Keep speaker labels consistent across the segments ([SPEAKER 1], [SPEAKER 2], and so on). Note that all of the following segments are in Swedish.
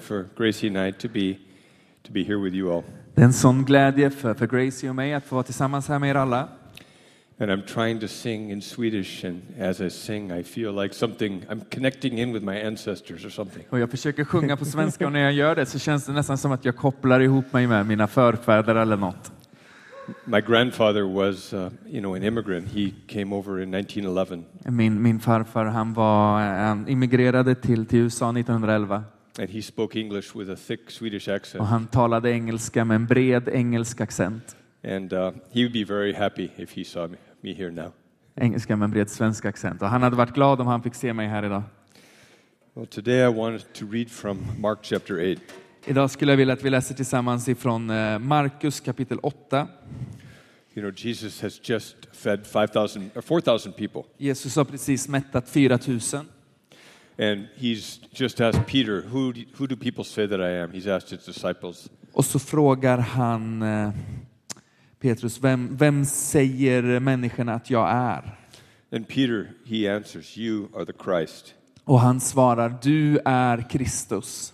[SPEAKER 1] for Gracie and I to be to be here with you all.
[SPEAKER 2] Det är en sån glädje för, för Gracie och mig att få vara tillsammans här med er alla.
[SPEAKER 1] And I'm trying to sing in Swedish, and as I sing, I feel like something I'm connecting in with my ancestors or something.
[SPEAKER 2] Och jag försöker sjunga på svenska och när jag gör det så känns det nästan som att jag kopplar ihop mig med mina förfäder eller något.
[SPEAKER 1] My grandfather was, uh, you know, an immigrant. He came over in 1911,
[SPEAKER 2] Min, min farfar han, var, han immigrerade till, till USA 1911
[SPEAKER 1] and he spoke English with a thick Swedish
[SPEAKER 2] och
[SPEAKER 1] accent.
[SPEAKER 2] han talade engelska med en bred engelsk accent.
[SPEAKER 1] And uh, he would be very happy if he saw me, me here now.
[SPEAKER 2] Engelska med en bred svensk accent. Och han hade varit glad om han fick se mig här idag.
[SPEAKER 1] Well, today I wanted to read from Mark chapter 8.
[SPEAKER 2] Idag skulle jag vilja att vi läser tillsammans ifrån eh, Markus kapitel 8.
[SPEAKER 1] You know, Jesus has just fed 5,000 or 4,000 people,
[SPEAKER 2] Jesus har precis mättat 4000
[SPEAKER 1] and he's just asked Peter, who do, who do people say that I am? He's asked his disciples.
[SPEAKER 2] och så frågar han eh, Petrus, vem, vem säger människorna att jag är?
[SPEAKER 1] And Peter, he answers, You are the Christ.
[SPEAKER 2] Och han svarar, du är Kristus.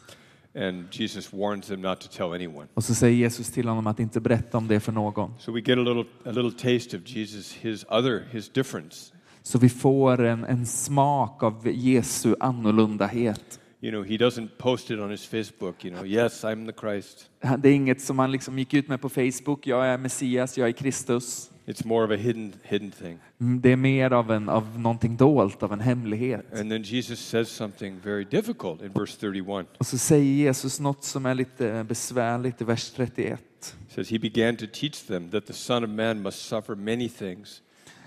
[SPEAKER 1] And Jesus warns them not to tell anyone.
[SPEAKER 2] Och så säger Jesus till honom att inte berätta om det för någon.
[SPEAKER 1] So we get a little, a little taste of Jesus, his other, his difference.
[SPEAKER 2] Så vi får en, en smak av Jesu annorlundahet.
[SPEAKER 1] You know, he doesn't post it on his Facebook, you know, yes, I'm the Christ.
[SPEAKER 2] Han- Det är inget som han liksom gick ut med på Facebook, jag är Messias, jag är Kristus.
[SPEAKER 1] It's more of a hidden, hidden thing.
[SPEAKER 2] Mm, Det är mer av, en, av någonting dolt, av en hemlighet.
[SPEAKER 1] And then Jesus says something very difficult in verse 31.
[SPEAKER 2] Och så säger Jesus något som är lite besvärligt i vers 31.
[SPEAKER 1] He says, He began to teach them that the Son of Man must suffer many things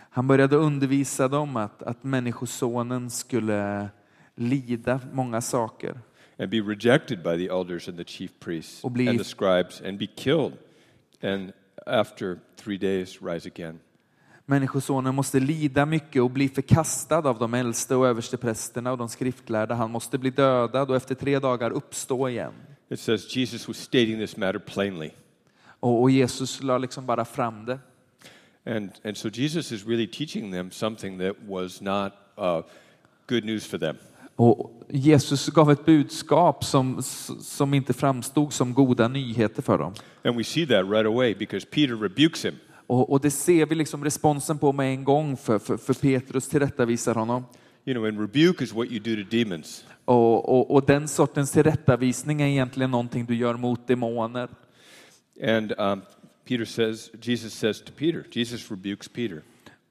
[SPEAKER 2] Han började undervisa dem att, att människosonen skulle lida många saker.
[SPEAKER 1] and be rejected by the elders and the chief priests
[SPEAKER 2] Och bli-
[SPEAKER 1] and the scribes and be killed and after three days rise again.
[SPEAKER 2] Människosonen måste lida mycket och bli förkastad av de äldste och översteprästerna och de skriftlärda. Han måste bli dödad och efter tre dagar uppstå igen.
[SPEAKER 1] It says Jesus was stating this matter plainly.
[SPEAKER 2] Och, och Jesus la liksom bara fram det.
[SPEAKER 1] And, and so Jesus is really teaching them something that was not uh, good news for them.
[SPEAKER 2] Och Jesus gav ett budskap som, som inte framstod som goda nyheter för dem.
[SPEAKER 1] And we see that right away because Peter rebukes him.
[SPEAKER 2] Och, och det ser vi liksom responsen på med en gång, för, för, för Petrus tillrättavisar honom.
[SPEAKER 1] You know, and rebuke is what you do to demons.
[SPEAKER 2] Och, och, och den sortens tillrättavisning är egentligen någonting du gör mot demoner.
[SPEAKER 1] And um, Peter says, Jesus says to Peter, Jesus rebukes Peter,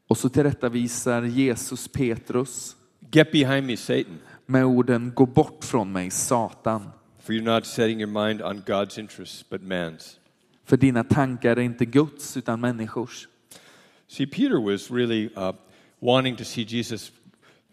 [SPEAKER 2] Och så tillrättavisar Jesus Petrus
[SPEAKER 1] Get behind me, Satan,
[SPEAKER 2] med orden Gå bort från mig, Satan,
[SPEAKER 1] for you're not setting your mind on God's interests but man's.
[SPEAKER 2] för dina tankar är inte Guds utan människors.
[SPEAKER 1] See, Peter was really uh, wanting to see Jesus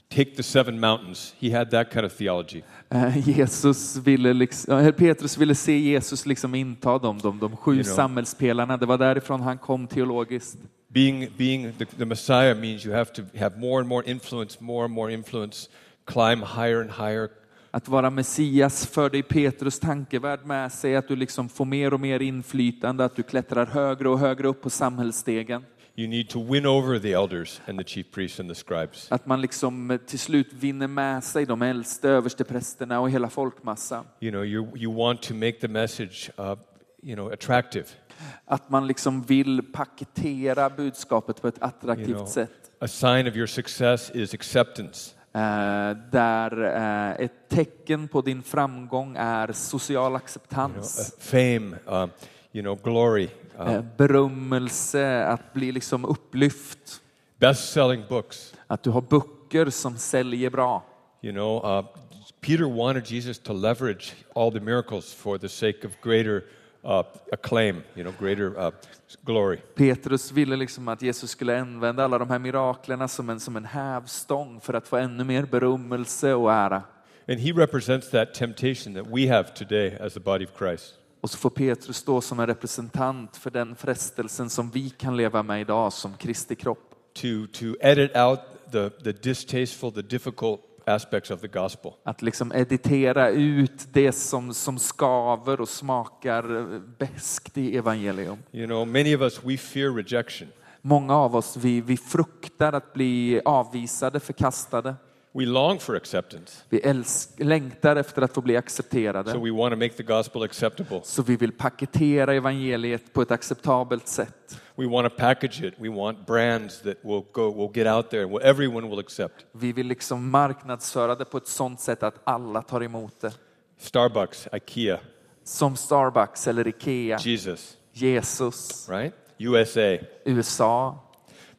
[SPEAKER 1] take the seven mountains. He had that kind of theology.
[SPEAKER 2] Eh, Jesus ville liksom, eh, Petrus ville se Jesus liksom inta dem, de, de sju
[SPEAKER 1] You know.
[SPEAKER 2] samhällspelarna. Det var därifrån han kom teologiskt.
[SPEAKER 1] Being, being the, the Messiah means you have to have more and more influence, more and more influence, climb higher and higher.
[SPEAKER 2] Att vara Messias förde i Petrus tankevärld med sig att du liksom får mer och mer inflytande, att du klättrar högre och högre upp på samhällsstegen.
[SPEAKER 1] You need to win over the elders and the chief priests and the scribes.
[SPEAKER 2] Att man liksom eh, till slut vinner med sig de äldste, översteprästerna och hela folkmassan.
[SPEAKER 1] You know, you, you want to make the message, uh, you know, attractive.
[SPEAKER 2] Att man liksom vill paketera budskapet på ett attraktivt
[SPEAKER 1] You know,
[SPEAKER 2] sätt.
[SPEAKER 1] a sign of your success is acceptance.
[SPEAKER 2] Eh, där eh, ett tecken på din framgång är social
[SPEAKER 1] You know, uh,
[SPEAKER 2] acceptans.
[SPEAKER 1] fame, um, you know, glory. Uh,
[SPEAKER 2] Eh, berömmelse, att bli liksom upplyft.
[SPEAKER 1] Best-selling books.
[SPEAKER 2] Att du har böcker som säljer bra.
[SPEAKER 1] You know, uh, Peter wanted Jesus to leverage all the miracles for the sake of greater uh, acclaim, you know, greater uh, glory.
[SPEAKER 2] Petrus ville liksom att Jesus skulle använda alla de här miraklerna som en, som en hävstång för att få ännu mer berömmelse och ära.
[SPEAKER 1] And he represents that temptation that we have today as the body of Christ.
[SPEAKER 2] Och så får Petrus stå som en representant för den frestelsen som vi kan leva med idag som Kristi kropp.
[SPEAKER 1] To, to edit out the, the distasteful, the difficult aspects of the gospel.
[SPEAKER 2] Att liksom editera ut det som, som skaver och smakar eh, beskt i evangelium.
[SPEAKER 1] You know, many of us, we fear rejection.
[SPEAKER 2] Många av oss, vi, vi fruktar att bli avvisade, förkastade.
[SPEAKER 1] We long for acceptance,
[SPEAKER 2] Vi älsk- längtar efter att få bli accepterade.
[SPEAKER 1] so we want to make the gospel acceptable.
[SPEAKER 2] Så vi vill paketera evangeliet på ett acceptabelt sätt.
[SPEAKER 1] We want to package it. We want brands that will go, will get out there, and will, everyone will accept.
[SPEAKER 2] Vi vill liksom marknadsföra det på ett sånt sätt att alla tar emot det.
[SPEAKER 1] Starbucks, IKEA,
[SPEAKER 2] Som Starbucks eller Ikea,
[SPEAKER 1] Jesus,
[SPEAKER 2] Jesus,
[SPEAKER 1] right? USA.
[SPEAKER 2] USA.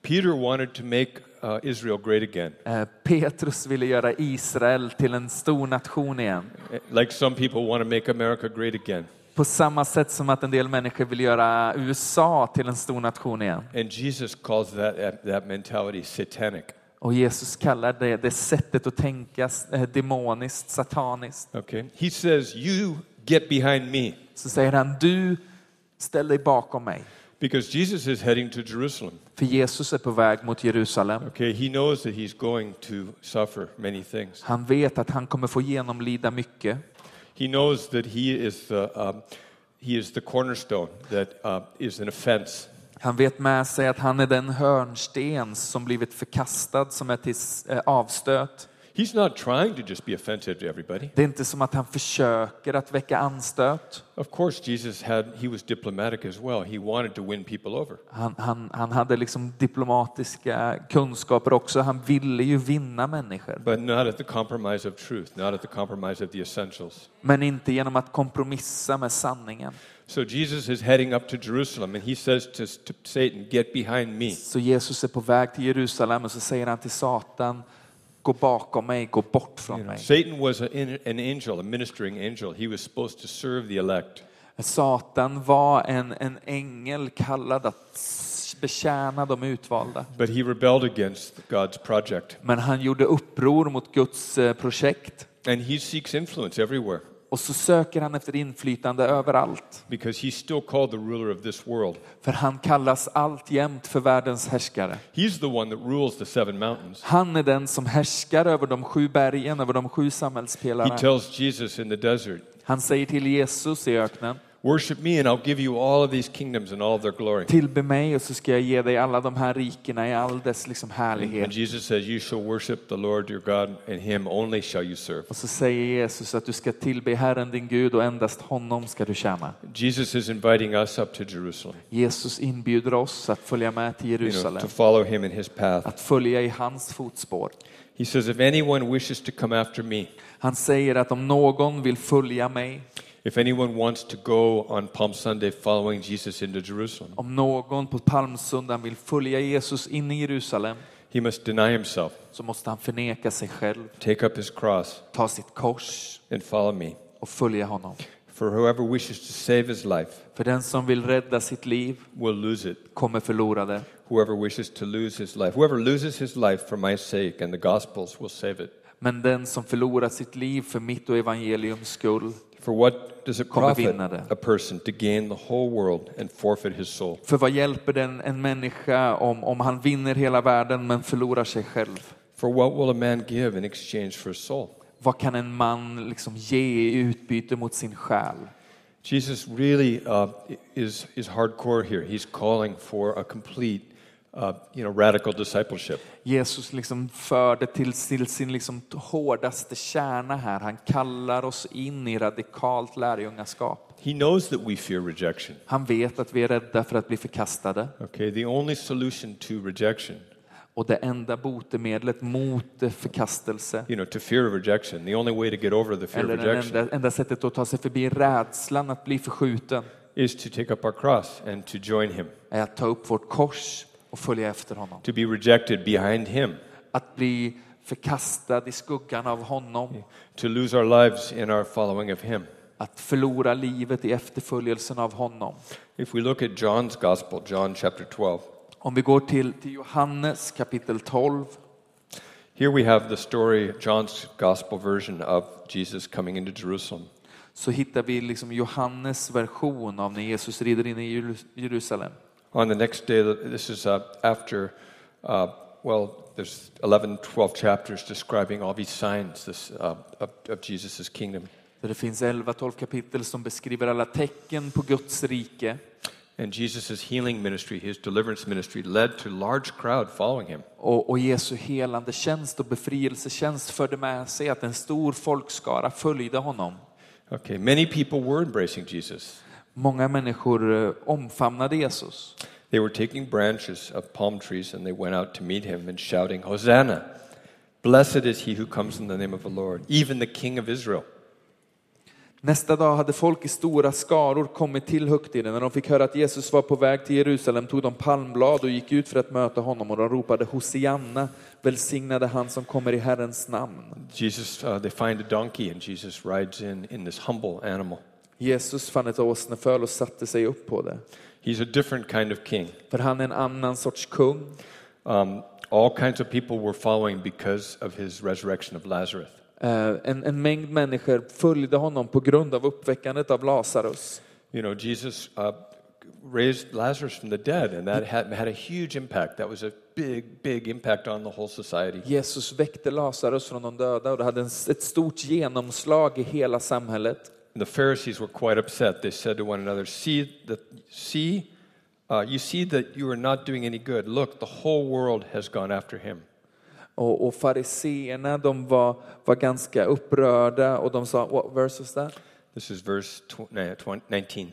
[SPEAKER 1] Peter wanted to make uh, Israel great again.
[SPEAKER 2] Eh, Petrus ville göra Israel till en stor nation igen.
[SPEAKER 1] eh, Like some people want to make America great again.
[SPEAKER 2] På samma sätt som att en del människor vill göra USA till en stor nation igen.
[SPEAKER 1] And Jesus calls that, that, that mentality satanic.
[SPEAKER 2] Och Jesus kallar det, det sättet att tänka eh, demoniskt, sataniskt.
[SPEAKER 1] Okay? He says, You get behind me.
[SPEAKER 2] Så säger han, du ställ dig bakom mig.
[SPEAKER 1] Because Jesus is heading to Jerusalem.
[SPEAKER 2] För Jesus är på väg mot Jerusalem.
[SPEAKER 1] Okay? He knows that he's going to suffer many things.
[SPEAKER 2] Han vet att han kommer få genomlida mycket.
[SPEAKER 1] He knows that he is the, um, he is the cornerstone that uh, is an offense.
[SPEAKER 2] Han vet med sig att han är den hörnsten som blivit förkastad, som är till s- eh, avstöt.
[SPEAKER 1] He's not trying to just be offensive to everybody.
[SPEAKER 2] Det är inte som att han försöker att väcka anstöt.
[SPEAKER 1] Of course, Jesus had, he was diplomatic as well. He wanted to win people over.
[SPEAKER 2] Han, han, han hade liksom diplomatiska kunskaper också. Han ville ju vinna människor.
[SPEAKER 1] But not at the compromise of truth, not at the compromise of the essentials.
[SPEAKER 2] Men inte genom att kompromissa med sanningen.
[SPEAKER 1] So Jesus is heading up to Jerusalem and he says to, to Satan, Get behind me.
[SPEAKER 2] Så Jesus är på väg till Jerusalem och så säger han till Satan, gå bakom mig, gå bort från mig.
[SPEAKER 1] Satan was a- in- an angel, a ministering angel. He was supposed to serve the elect.
[SPEAKER 2] Satan var en, en ängel kallad att s- betjäna de utvalda.
[SPEAKER 1] But he rebelled against God's project.
[SPEAKER 2] Men han gjorde uppror mot Guds eh, projekt
[SPEAKER 1] And he seeks influence everywhere
[SPEAKER 2] och så söker han efter inflytande överallt.
[SPEAKER 1] because he's still called the ruler of this world.
[SPEAKER 2] För han kallas alltjämt för världens härskare.
[SPEAKER 1] He's the one that rules the seven mountains.
[SPEAKER 2] Han är den som härskar över de sju bergen, över de sju
[SPEAKER 1] He
[SPEAKER 2] samhällspelarna.
[SPEAKER 1] tells Jesus in the desert,
[SPEAKER 2] Han säger till Jesus i öknen,
[SPEAKER 1] Worship me, and I'll give you all of these kingdoms and all of their glory.
[SPEAKER 2] tillbe mig och så ska jag ge dig alla de här rikena i all dess liksom
[SPEAKER 1] And
[SPEAKER 2] härlighet.
[SPEAKER 1] Jesus says, You shall worship the Lord your God, and him only shall you serve.
[SPEAKER 2] Och så säger Jesus att du ska tillbe Herren din Gud och endast honom ska du tjäna.
[SPEAKER 1] Jesus is inviting us up to Jerusalem,
[SPEAKER 2] Jesus inbjuder oss att följa med till
[SPEAKER 1] you know,
[SPEAKER 2] Jerusalem,
[SPEAKER 1] to follow him in his path.
[SPEAKER 2] att följa i hans fotspår.
[SPEAKER 1] He says, If anyone wishes to come after me,
[SPEAKER 2] Han säger att om någon vill följa mig,
[SPEAKER 1] if anyone wants to go on Palm Sunday following Jesus into Jerusalem,
[SPEAKER 2] om någon på palmsöndagen vill följa Jesus in i Jerusalem,
[SPEAKER 1] he must deny himself,
[SPEAKER 2] så måste han förneka sig själv,
[SPEAKER 1] take up his cross,
[SPEAKER 2] ta sitt kors
[SPEAKER 1] and follow me.
[SPEAKER 2] och följa honom.
[SPEAKER 1] For whoever wishes to save his life
[SPEAKER 2] För den som vill rädda sitt liv
[SPEAKER 1] will lose it.
[SPEAKER 2] kommer förlora det.
[SPEAKER 1] Whoever wishes to lose his life, whoever loses his life for my sake and the gospel's will save it.
[SPEAKER 2] Men den som förlorar sitt liv för mitt och evangeliums skull,
[SPEAKER 1] For what does it
[SPEAKER 2] Kommer
[SPEAKER 1] profit
[SPEAKER 2] vinna det.
[SPEAKER 1] a person to gain the whole world and forfeit his soul?
[SPEAKER 2] för vad hjälper den en människa om, om han vinner hela världen men förlorar sig själv?
[SPEAKER 1] For what will a man give in exchange for his soul?
[SPEAKER 2] Vad kan en man liksom ge i utbyte mot sin själ?
[SPEAKER 1] Jesus really uh, is, is hardcore here. He's calling for a complete, uh, you know, radical discipleship.
[SPEAKER 2] Jesus liksom förde till, till sin liksom hårdaste kärna här. Han kallar oss in i radikalt lärjungaskap.
[SPEAKER 1] He knows that we fear rejection.
[SPEAKER 2] Han vet att vi är rädda för att bli förkastade
[SPEAKER 1] Okay, the only solution to rejection,
[SPEAKER 2] och det enda botemedlet mot eh, förkastelse
[SPEAKER 1] you know, to fear of rejection, the only way to get over the fear
[SPEAKER 2] eller
[SPEAKER 1] of
[SPEAKER 2] det
[SPEAKER 1] rejection
[SPEAKER 2] enda, enda sättet att ta sig förbi rädslan att bli förskjuten
[SPEAKER 1] is to take up our cross and to join him,
[SPEAKER 2] är att ta upp vårt kors och följa efter honom.
[SPEAKER 1] to be rejected behind him,
[SPEAKER 2] Att bli förkastad i skuggan av honom,
[SPEAKER 1] to lose our lives in our following of him.
[SPEAKER 2] att förlora livet i efterföljelsen av honom.
[SPEAKER 1] If we look at John's Gospel, John chapter 12,
[SPEAKER 2] Om vi går till, till Johannes kapitel 12
[SPEAKER 1] here we have the story, John's Gospel version of Jesus coming into Jerusalem.
[SPEAKER 2] så hittar vi liksom Johannes version av när Jesus rider in i Jeru- Jerusalem.
[SPEAKER 1] On the next day, this is uh, after, uh, well, there's 11, 12 chapters describing all these signs this, uh, of, of Jesus' kingdom.
[SPEAKER 2] Där det finns 11-12 kapitel som beskriver alla tecken på Guds rike.
[SPEAKER 1] And Jesus' healing ministry, his deliverance ministry, led to large crowd following him.
[SPEAKER 2] Och, och Jesu helande tjänst och befrielsetjänst förde med sig att en stor folkskara följde honom.
[SPEAKER 1] Okay, many people were embracing Jesus.
[SPEAKER 2] Många människor eh, omfamnade Jesus.
[SPEAKER 1] They were taking branches of palm trees and they went out to meet him and shouting, Hosanna! Blessed is he who comes in the name of the Lord, even the King of Israel.
[SPEAKER 2] Nästa dag hade folk i stora skaror kommit till högtiden. När de fick höra att Jesus var på väg till Jerusalem tog de palmblad och gick ut för att möta honom och de ropade Hosianna, välsignade han som kommer i Herrens namn.
[SPEAKER 1] Jesus, uh, they find a donkey and Jesus rides in in this humble animal.
[SPEAKER 2] Jesus fann ett åsneföl och satte sig upp på det.
[SPEAKER 1] He's a different kind of king.
[SPEAKER 2] För han är en annan sorts kung.
[SPEAKER 1] Um, all kinds of people were following because of his resurrection of Lazarus.
[SPEAKER 2] Eh, En, en mängd människor följde honom på grund av uppväckandet av Lazarus.
[SPEAKER 1] You know, Jesus uh, raised Lazarus from the dead, and that had, had a huge impact. That was a big, big impact on the whole society.
[SPEAKER 2] Jesus väckte Lazarus från de döda och det hade en, ett stort genomslag i hela samhället.
[SPEAKER 1] And the Pharisees were quite upset. They said to one another, "See that, see, uh, you see that you are not doing any good. Look, the whole world has gone after him."
[SPEAKER 2] Och, och fariseerna de var, var ganska upprörda och de sa, what verse was that?
[SPEAKER 1] This is verse tw- ni- twen- 19.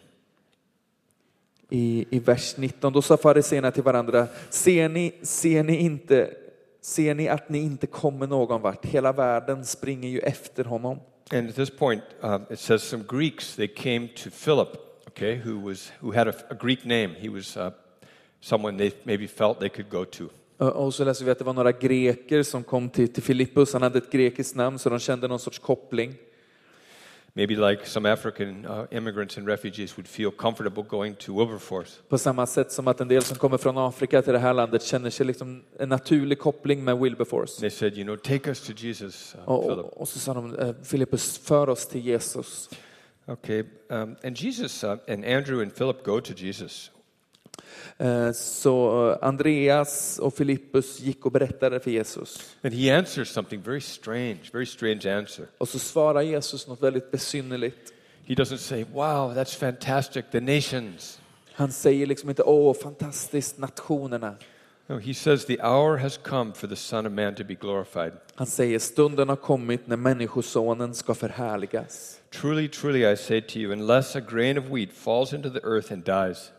[SPEAKER 2] I, I vers 19, då sa fariseerna till varandra, ser ni, ser ni inte Ser ni att ni inte kommer någon vart? Hela världen springer ju efter honom.
[SPEAKER 1] And at this point, uh, it says some Greeks they came to Philip, okay, who was who had a, a Greek name. He was uh, someone they maybe felt they could go to.
[SPEAKER 2] Och- Och så läser vi att det var några greker som kom till, till Filippus. Han hade ett grekiskt namn så de kände någon sorts koppling.
[SPEAKER 1] Maybe like some African uh, immigrants and refugees would feel comfortable going to Wilberforce.
[SPEAKER 2] På samma sätt som att en del som kommer från Afrika till det här landet känner sig liksom en naturlig koppling med Wilberforce.
[SPEAKER 1] They said, you know, take us to Jesus, uh,
[SPEAKER 2] Och,
[SPEAKER 1] Philip.
[SPEAKER 2] och, och så sa de, eh, Filippus, för oss till Jesus.
[SPEAKER 1] Okay, um, and Jesus uh, and Andrew and Philip go to Jesus.
[SPEAKER 2] Eh, Så eh, Andreas och Filippus gick och berättade för Jesus.
[SPEAKER 1] And he answers something very strange, very strange answer.
[SPEAKER 2] Och så svarar Jesus något väldigt besynnerligt.
[SPEAKER 1] He doesn't say, wow, that's fantastic, the nations.
[SPEAKER 2] Han säger liksom inte, åh fantastiskt, nationerna.
[SPEAKER 1] No, he says, the hour has come for the Son of Man to be glorified.
[SPEAKER 2] Han säger, stunden har kommit när människosonen ska förhärligas.
[SPEAKER 1] Truly, truly, I say to you, unless a grain of wheat falls into the earth and dies,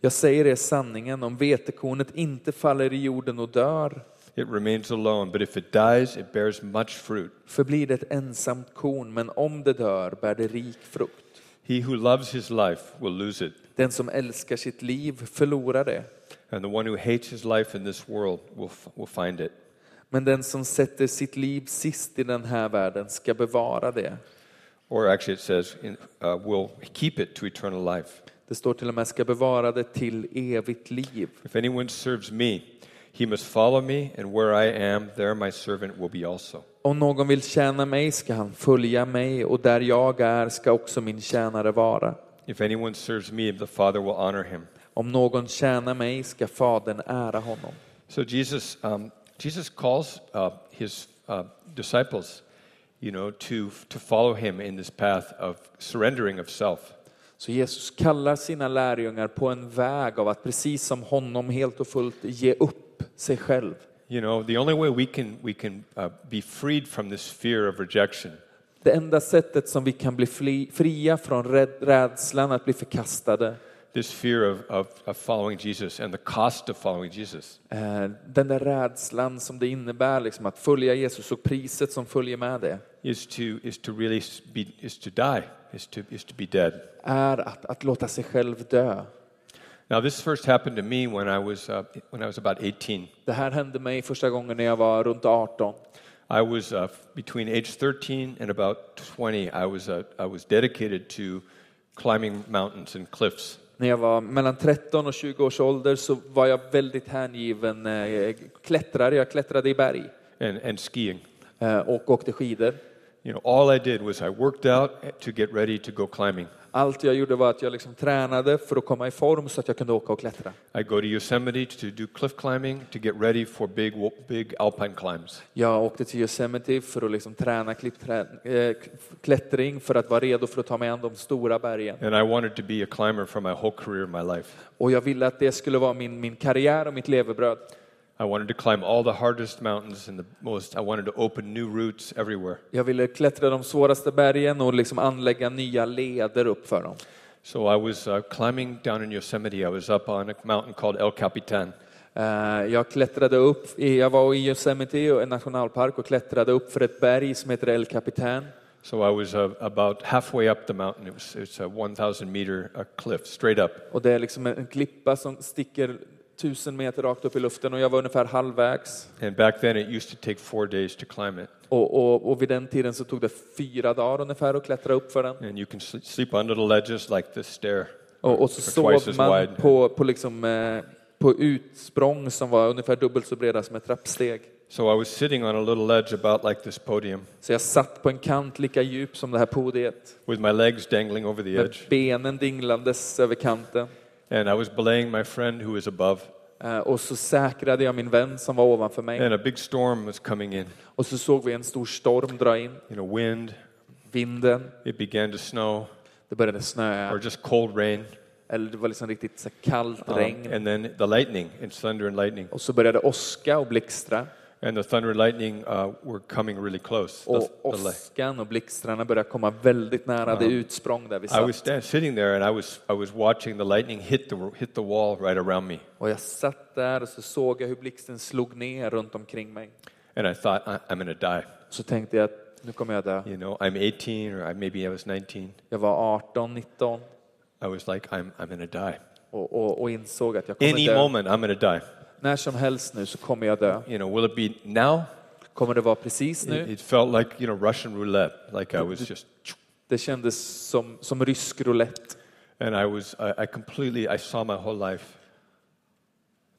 [SPEAKER 2] Jag säger er sanningen, om vetekornet inte faller i jorden och dör
[SPEAKER 1] it remains alone. But if it dies, it bears much fruit.
[SPEAKER 2] förblir det ett ensamt korn, men om det dör bär det rik frukt.
[SPEAKER 1] He who loves his life will lose it,
[SPEAKER 2] Den som älskar sitt liv förlorar det,
[SPEAKER 1] and the one who hates his life in this world will, f- will find it.
[SPEAKER 2] men den som sätter sitt liv sist i den här världen ska bevara det.
[SPEAKER 1] Or actually, it says, in, uh, will keep it to eternal life.
[SPEAKER 2] Det står till och med ska bevara det till evigt liv.
[SPEAKER 1] If anyone serves me, he must follow me, and where I am, there my servant will be also.
[SPEAKER 2] Om någon vill tjäna mig ska han följa mig och där jag är ska också min tjänare vara.
[SPEAKER 1] If anyone serves me, the Father will honor him.
[SPEAKER 2] Om någon tjänar mig ska Fadern ära honom.
[SPEAKER 1] So Jesus, um, Jesus calls uh, his uh, disciples, you know, to to follow him in this path of surrendering of self.
[SPEAKER 2] Så Jesus kallar sina lärjungar på en väg av att precis som honom helt och fullt ge upp sig själv.
[SPEAKER 1] You know, the only way we can we can uh, be freed from this fear of rejection
[SPEAKER 2] Det enda sättet som vi kan bli fli- fria från räd- rädslan att bli förkastade,
[SPEAKER 1] this fear of, of, of following Jesus and the cost of following Jesus
[SPEAKER 2] eh, den där rädslan som det innebär liksom, att följa Jesus och priset som följer med det,
[SPEAKER 1] is to is to really s- be is to die is to is to be dead.
[SPEAKER 2] är att, att låta sig själv dö.
[SPEAKER 1] Now this first happened to me when I was uh, when I was about 18.
[SPEAKER 2] Det här hände mig första gången när jag var runt 18.
[SPEAKER 1] I was uh, between age 13 and about 20. I was uh, I was dedicated to climbing mountains and cliffs.
[SPEAKER 2] När jag var mellan 13 och 20 års ålder så var jag väldigt hängiven eh, klättrare. Jag klättrade i berg.
[SPEAKER 1] And, and skiing.
[SPEAKER 2] Eh, och åkte skidor.
[SPEAKER 1] You know, all I did was I worked out to get ready to go climbing.
[SPEAKER 2] Allt jag gjorde var att jag liksom tränade för att komma i form så att jag kunde åka och klättra.
[SPEAKER 1] I go to Yosemite to do cliff climbing to get ready for big, wo- big alpine climbs.
[SPEAKER 2] Jag åkte till Yosemite för att liksom träna klippträ- eh, k- klättring för att vara redo för att ta mig an de stora bergen.
[SPEAKER 1] And I wanted to be a climber for my whole career, my life.
[SPEAKER 2] Och jag ville att det skulle vara min, min karriär och mitt levebröd.
[SPEAKER 1] I wanted to climb all the hardest mountains and the most. I wanted to open new routes everywhere.
[SPEAKER 2] Jag ville klättra de svåraste bergen och liksom anlägga nya leder upp för dem.
[SPEAKER 1] So I was uh, climbing down in Yosemite. I was up on a mountain called El Capitan.
[SPEAKER 2] Eh, Jag klättrade upp, i- jag var i Yosemite och en nationalpark och klättrade upp för ett berg som heter El Capitan.
[SPEAKER 1] So I was uh, about halfway up the mountain. It was, it's a 1,000 meter uh, cliff, straight up.
[SPEAKER 2] Och det är liksom en klippa som sticker tusen meter rakt upp i luften och jag var ungefär halvvägs.
[SPEAKER 1] And back then it used to take four days to climb it.
[SPEAKER 2] Och, och, och vid den tiden så tog det fyra dagar ungefär att klättra upp för den.
[SPEAKER 1] And you can sl- sleep under the ledges like this stair.
[SPEAKER 2] Och, och så
[SPEAKER 1] Or
[SPEAKER 2] sov man på, på, liksom, eh, på utsprång som var ungefär dubbelt så breda som ett trappsteg.
[SPEAKER 1] So I was sitting on a little ledge about like this podium
[SPEAKER 2] Så jag satt på en kant lika djup som det här podiet
[SPEAKER 1] with my legs dangling over the
[SPEAKER 2] med
[SPEAKER 1] edge.
[SPEAKER 2] benen dinglandes över kanten.
[SPEAKER 1] And I was belaying my friend who was above.
[SPEAKER 2] Eh, Och så säkrade jag min vän som var ovanför mig.
[SPEAKER 1] And a big storm was coming in.
[SPEAKER 2] Och så såg vi en stor storm dra in,
[SPEAKER 1] You know, wind.
[SPEAKER 2] vinden,
[SPEAKER 1] It began to snow
[SPEAKER 2] det började
[SPEAKER 1] or
[SPEAKER 2] snöa,
[SPEAKER 1] just cold rain.
[SPEAKER 2] eller det var liksom riktigt så här kallt
[SPEAKER 1] Um,
[SPEAKER 2] regn.
[SPEAKER 1] and then the lightning, it's thunder and lightning.
[SPEAKER 2] Och så började åska och blixtra.
[SPEAKER 1] And the thunder and lightning uh, were coming really close. The-
[SPEAKER 2] Och
[SPEAKER 1] the light.
[SPEAKER 2] åskan och blixtrarna började komma väldigt nära det utsprång där vi
[SPEAKER 1] I was
[SPEAKER 2] satt.
[SPEAKER 1] stand, sitting there and I was, I was watching the lightning hit the, hit the wall right around me.
[SPEAKER 2] Och jag satt där och så såg jag hur blixten slog ner runt omkring mig.
[SPEAKER 1] And I thought, I, I'm going to die.
[SPEAKER 2] Så tänkte jag att nu kommer jag dö.
[SPEAKER 1] You know, I'm 18 or I, maybe I was 19.
[SPEAKER 2] Jag var 18, 19
[SPEAKER 1] I was like, I'm, I'm going to die.
[SPEAKER 2] och, och, och insåg att jag
[SPEAKER 1] Any
[SPEAKER 2] kommer dö.
[SPEAKER 1] moment, I'm going to die.
[SPEAKER 2] När som helst nu så kommer jag dö.
[SPEAKER 1] You know, will it be now?
[SPEAKER 2] Kommer det vara precis
[SPEAKER 1] It,
[SPEAKER 2] nu?
[SPEAKER 1] it felt like, you know, Russian roulette. Like I was just,
[SPEAKER 2] Det kändes som, som rysk roulette.
[SPEAKER 1] and I was, I, I completely, I saw my whole life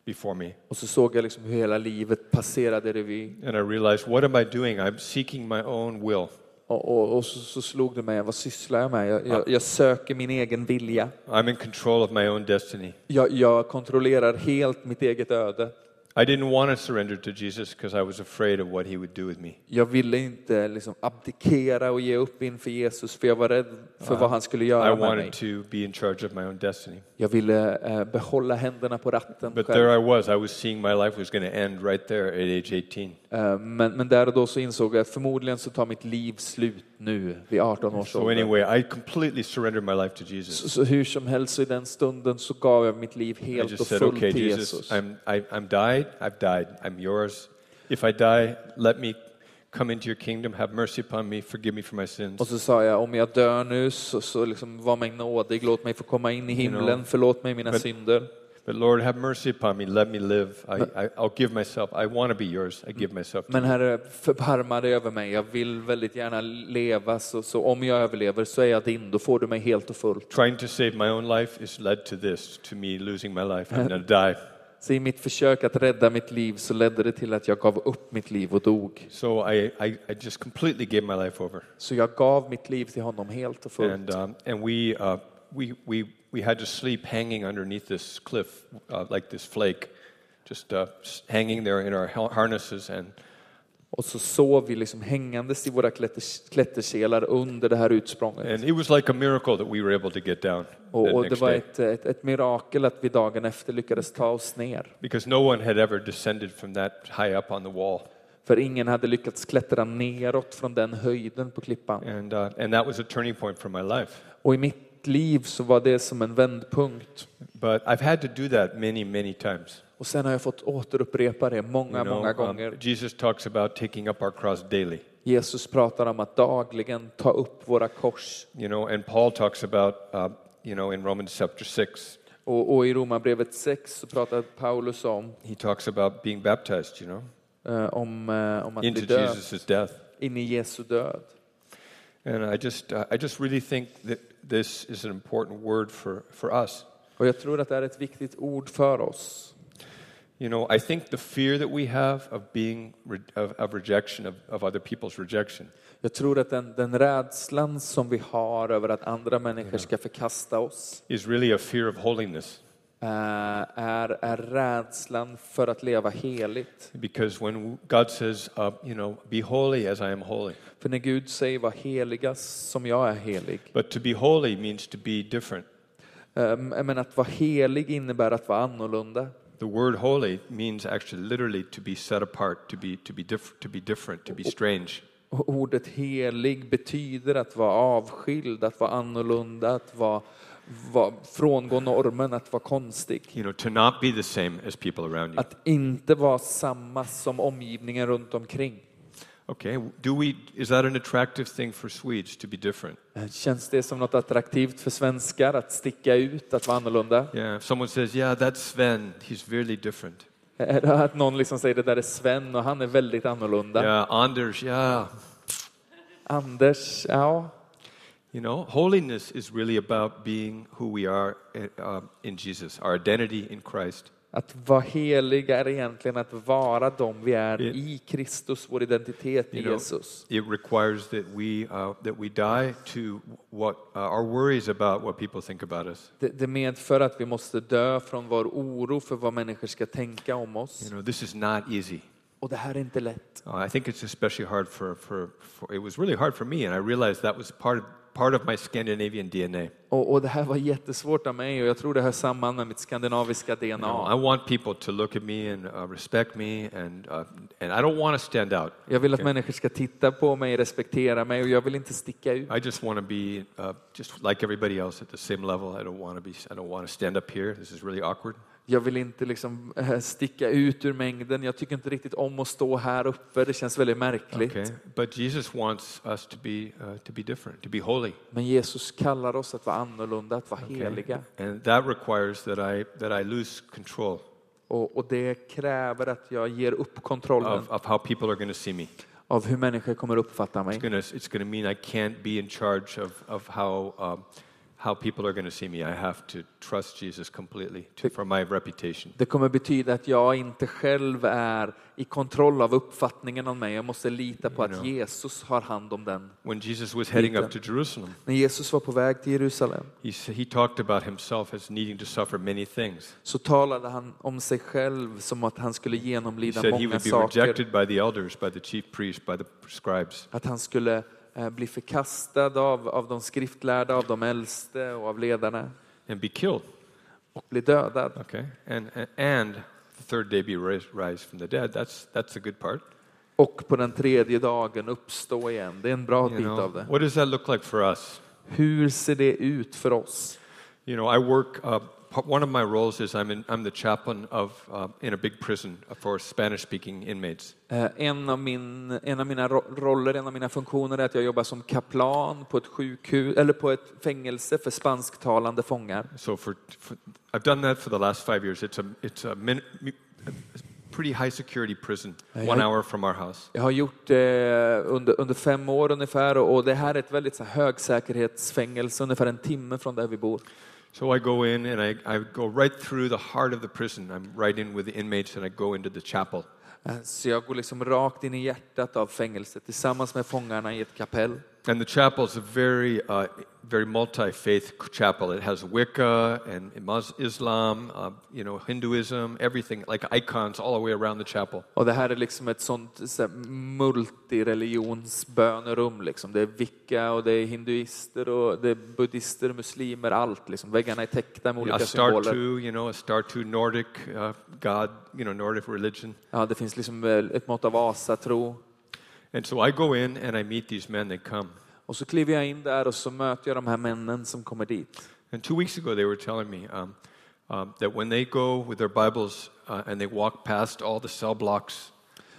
[SPEAKER 1] before me.
[SPEAKER 2] Och så såg jag liksom hur hela livet passerade revy.
[SPEAKER 1] And I realized, what am I doing? I'm seeking my own will.
[SPEAKER 2] Och, och, och så, så slog det mig, vad sysslar jag med? Jag, jag, jag söker min egen vilja.
[SPEAKER 1] I'm in control of my own destiny.
[SPEAKER 2] Jag, jag kontrollerar helt mitt eget öde.
[SPEAKER 1] I didn't want to surrender to Jesus because I was afraid of what he would do with me.
[SPEAKER 2] Jag ville inte liksom abdikera och ge upp inför Jesus för jag var rädd för vad han skulle
[SPEAKER 1] I
[SPEAKER 2] göra med mig.
[SPEAKER 1] wanted to be in charge of my own destiny.
[SPEAKER 2] Jag ville eh, behålla händerna på ratten
[SPEAKER 1] But
[SPEAKER 2] själv.
[SPEAKER 1] there I was. I was seeing my life was going to end right there at age 18.
[SPEAKER 2] Eh, men, men där och då så insåg jag att förmodligen så tar mitt liv slut nu vid 18 års
[SPEAKER 1] So,
[SPEAKER 2] ålder.
[SPEAKER 1] anyway, I completely surrendered my life to Jesus.
[SPEAKER 2] Så, så hur som helst så i den stunden så gav jag mitt liv
[SPEAKER 1] I
[SPEAKER 2] helt
[SPEAKER 1] just
[SPEAKER 2] och
[SPEAKER 1] said,
[SPEAKER 2] fullt
[SPEAKER 1] okay,
[SPEAKER 2] till
[SPEAKER 1] Jesus,
[SPEAKER 2] Jesus.
[SPEAKER 1] I'm, I, I'm died. I've died. I'm yours. If I die, let me come into your kingdom. Have mercy upon me. Forgive me for my sins.
[SPEAKER 2] Och så sa jag, om jag dör nu så, så liksom, var mig nådig, låt mig få komma in i himlen,
[SPEAKER 1] know.
[SPEAKER 2] förlåt mig mina
[SPEAKER 1] But-
[SPEAKER 2] synder.
[SPEAKER 1] But Lord, have mercy upon me. Let me live. I, I, I'll give myself. I want to be yours. I give myself. To
[SPEAKER 2] Men Herre, förbarma dig över mig, jag vill väldigt gärna leva, så, så om jag överlever så är jag din, då får du mig helt och fullt.
[SPEAKER 1] Trying to save my own life is led to this, to me losing my life. I'm going to die.
[SPEAKER 2] Så i mitt försök att rädda mitt liv så ledde det till att jag gav upp mitt liv och dog.
[SPEAKER 1] So I, I, I just completely gave my life over.
[SPEAKER 2] Så jag gav mitt liv till honom helt och fullt.
[SPEAKER 1] And, um, and we, uh, we, we, we had to sleep hanging underneath this cliff, uh, like this flake, just uh, s- hanging there in our har- harnesses. And
[SPEAKER 2] Och så sov vi liksom hängandes i våra klätter, klätterselar under det här utsprånget.
[SPEAKER 1] and it was like a miracle that we were able to get down
[SPEAKER 2] Och,
[SPEAKER 1] the
[SPEAKER 2] och det
[SPEAKER 1] next
[SPEAKER 2] var
[SPEAKER 1] day.
[SPEAKER 2] ett, ett, ett mirakel att vi dagen efter lyckades ta oss ner.
[SPEAKER 1] Because no one had ever descended from that high up on the wall.
[SPEAKER 2] För ingen hade lyckats klättra neråt från den höjden på klippan.
[SPEAKER 1] And, uh, and that was a turning point for my life.
[SPEAKER 2] Och i mitt liv så var det som en vändpunkt.
[SPEAKER 1] But I've had to do that many, many times.
[SPEAKER 2] Och sen har jag fått återupprepa det
[SPEAKER 1] You
[SPEAKER 2] många,
[SPEAKER 1] know,
[SPEAKER 2] många
[SPEAKER 1] um,
[SPEAKER 2] gånger.
[SPEAKER 1] Jesus talks about taking up our cross daily,
[SPEAKER 2] Jesus pratar om att dagligen ta upp våra kors.
[SPEAKER 1] you know, and Paul talks about, uh, you know, in Romans chapter 6,
[SPEAKER 2] Och, och i Romarbrevet 6 så pratar Paulus om,
[SPEAKER 1] he talks about being baptized, you know,
[SPEAKER 2] eh, om, eh, om att bli
[SPEAKER 1] into
[SPEAKER 2] död,
[SPEAKER 1] Jesus' death.
[SPEAKER 2] in i Jesu död.
[SPEAKER 1] And I just, uh, I just really think that this is an important word for, for us.
[SPEAKER 2] Och jag tror att det är ett viktigt ord för oss.
[SPEAKER 1] You You know, I think the fear that we have of being, re- of, of rejection, of, of other people's rejection,
[SPEAKER 2] Jag tror att den, den rädslan som vi har över att andra människor ska förkasta oss
[SPEAKER 1] is really a fear of holiness.
[SPEAKER 2] eh, är, är rädslan för att leva heligt.
[SPEAKER 1] Because when God says, uh, you know, be holy as I am holy,
[SPEAKER 2] För när Gud säger var heliga som jag är helig.
[SPEAKER 1] but to be holy means to be different.
[SPEAKER 2] Eh, Men att vara helig innebär att vara annorlunda.
[SPEAKER 1] The word holy means actually literally to be set apart, to be, to be, diff- to be different, to be strange.
[SPEAKER 2] Och Ordet helig betyder att vara avskild, att vara annorlunda, att vara, vara, frångå normen, att vara konstig.
[SPEAKER 1] You know, to not be the same as people around you.
[SPEAKER 2] Att inte vara samma som omgivningen runt omkring.
[SPEAKER 1] Okay, do we, is that an attractive thing for Swedes to be different?
[SPEAKER 2] Eh, Känns det som något attraktivt för svenskar att sticka ut, att vara annorlunda?
[SPEAKER 1] Yeah, if someone says, yeah, that's Sven, he's really different.
[SPEAKER 2] Är det Att någon liksom säger det där är Sven och han är väldigt annorlunda.
[SPEAKER 1] Yeah, Anders, yeah.
[SPEAKER 2] Anders, ja.
[SPEAKER 1] You know, holiness is really about being who we are uh, in Jesus, our identity in Christ.
[SPEAKER 2] Att vara helig är egentligen att vara de vi är
[SPEAKER 1] Yeah.
[SPEAKER 2] i Kristus, vår identitet i
[SPEAKER 1] You know,
[SPEAKER 2] Jesus.
[SPEAKER 1] It requires that we uh, that we die to what uh, our worries about what people think about us.
[SPEAKER 2] Det, det medför att vi måste dö från vår oro för vad människor ska tänka om
[SPEAKER 1] You
[SPEAKER 2] oss.
[SPEAKER 1] know, this is not easy.
[SPEAKER 2] Och det här är inte lätt.
[SPEAKER 1] Uh, I think it's especially hard for, for, for it was really hard for me, and I realized that was part of, part of my Scandinavian DNA.
[SPEAKER 2] Och, och det här var jättesvårt av mig och jag tror det hör samman med mitt skandinaviska
[SPEAKER 1] You know,
[SPEAKER 2] DNA.
[SPEAKER 1] I want people to look at me and uh, respect me, and uh, and I don't want to stand out.
[SPEAKER 2] Jag vill att människor ska titta på mig, respektera mig och jag vill inte sticka ut.
[SPEAKER 1] I just want to be uh, just like everybody else at the same level. I don't want to be. I don't want to stand up here. This is really awkward.
[SPEAKER 2] Jag vill inte liksom eh, sticka ut ur mängden. Jag tycker inte riktigt om att stå här uppe. Det känns väldigt märkligt.
[SPEAKER 1] Okay, but Jesus wants us to be uh, to be different, to be holy.
[SPEAKER 2] Men Jesus kallar oss att vara annorlunda, att vara
[SPEAKER 1] Okay?
[SPEAKER 2] heliga.
[SPEAKER 1] And that requires that I that I lose control
[SPEAKER 2] Och, och det kräver att jag ger upp kontrollen
[SPEAKER 1] of, of how people are going to see me.
[SPEAKER 2] av hur människor kommer uppfatta mig.
[SPEAKER 1] It's going to it's going to mean I can't be in charge of of how. Um, how people are going to see me. I have to trust Jesus completely to, for my reputation.
[SPEAKER 2] Det kommer betyda att jag inte själv är i kontroll av uppfattningen om mig. Jag måste lita på att Jesus har hand om den.
[SPEAKER 1] When Jesus was heading up to Jerusalem,
[SPEAKER 2] När Jesus var på väg till Jerusalem
[SPEAKER 1] he, s- he talked about himself as needing to suffer many things.
[SPEAKER 2] så talade han om sig själv som att han skulle
[SPEAKER 1] He
[SPEAKER 2] genomlida
[SPEAKER 1] said he
[SPEAKER 2] många
[SPEAKER 1] would be
[SPEAKER 2] saker.
[SPEAKER 1] rejected by the elders, by the chief priests, by the scribes.
[SPEAKER 2] Att han skulle eh, bli förkastad av, av de skriftlärda, av de äldste och av ledarna
[SPEAKER 1] and be killed.
[SPEAKER 2] och bli dödad.
[SPEAKER 1] Okay, and and, and the third day be raised, rise from the dead. That's that's a good part.
[SPEAKER 2] och på den tredje dagen uppstå igen. Det är en bra
[SPEAKER 1] You
[SPEAKER 2] bit
[SPEAKER 1] know,
[SPEAKER 2] av det.
[SPEAKER 1] what does that look like for us?
[SPEAKER 2] Hur ser det ut för oss?
[SPEAKER 1] You know, I work. Uh, pa- one of my roles is I'm in, I'm the chaplain of uh, in a big prison for Spanish-speaking inmates.
[SPEAKER 2] Eh, En av, min, en av mina ro- roller, en av mina funktioner är att jag jobbar som kaplan på ett sjukhus, eller på ett fängelse för spansktalande fångar.
[SPEAKER 1] So for, for I've done that for the last five years. It's a it's a, min, a pretty high security prison,
[SPEAKER 2] Hey,
[SPEAKER 1] one
[SPEAKER 2] hey.
[SPEAKER 1] hour from our house.
[SPEAKER 2] Jag har gjort det under, under fem år ungefär och, och det här är ett väldigt så här, högsäkerhetsfängelse, ungefär en timme från där vi bor.
[SPEAKER 1] So I go in and I, I go right through the heart of the prison. I'm right in with the inmates and I go into the chapel.
[SPEAKER 2] Eh, Så jag går liksom rakt in i hjärtat av fängelset tillsammans med fångarna i ett kapell.
[SPEAKER 1] And the chapel is a very, uh, very multi-faith chapel. It has Wicca and Mus- Islam, uh, you know, Hinduism, everything, like icons all the way around the chapel.
[SPEAKER 2] Och det här är liksom ett sånt så här, multireligionsbönerum. Liksom. Det är vicka och det är hinduister och det är buddister, muslimer, allt. Liksom. Väggarna är täckta med
[SPEAKER 1] A
[SPEAKER 2] olika
[SPEAKER 1] star
[SPEAKER 2] symboler.
[SPEAKER 1] two, you know, a star two Nordic uh, god, you know, Nordic religion.
[SPEAKER 2] Ja, det finns liksom eh, ett mått av asatro.
[SPEAKER 1] And so I go in and I meet these men that come.
[SPEAKER 2] Och så kliver jag in där och så möter jag de här männen som kommer dit.
[SPEAKER 1] And two weeks ago, they were telling me um, um, that when they go with their Bibles uh, and they walk past all the cell blocks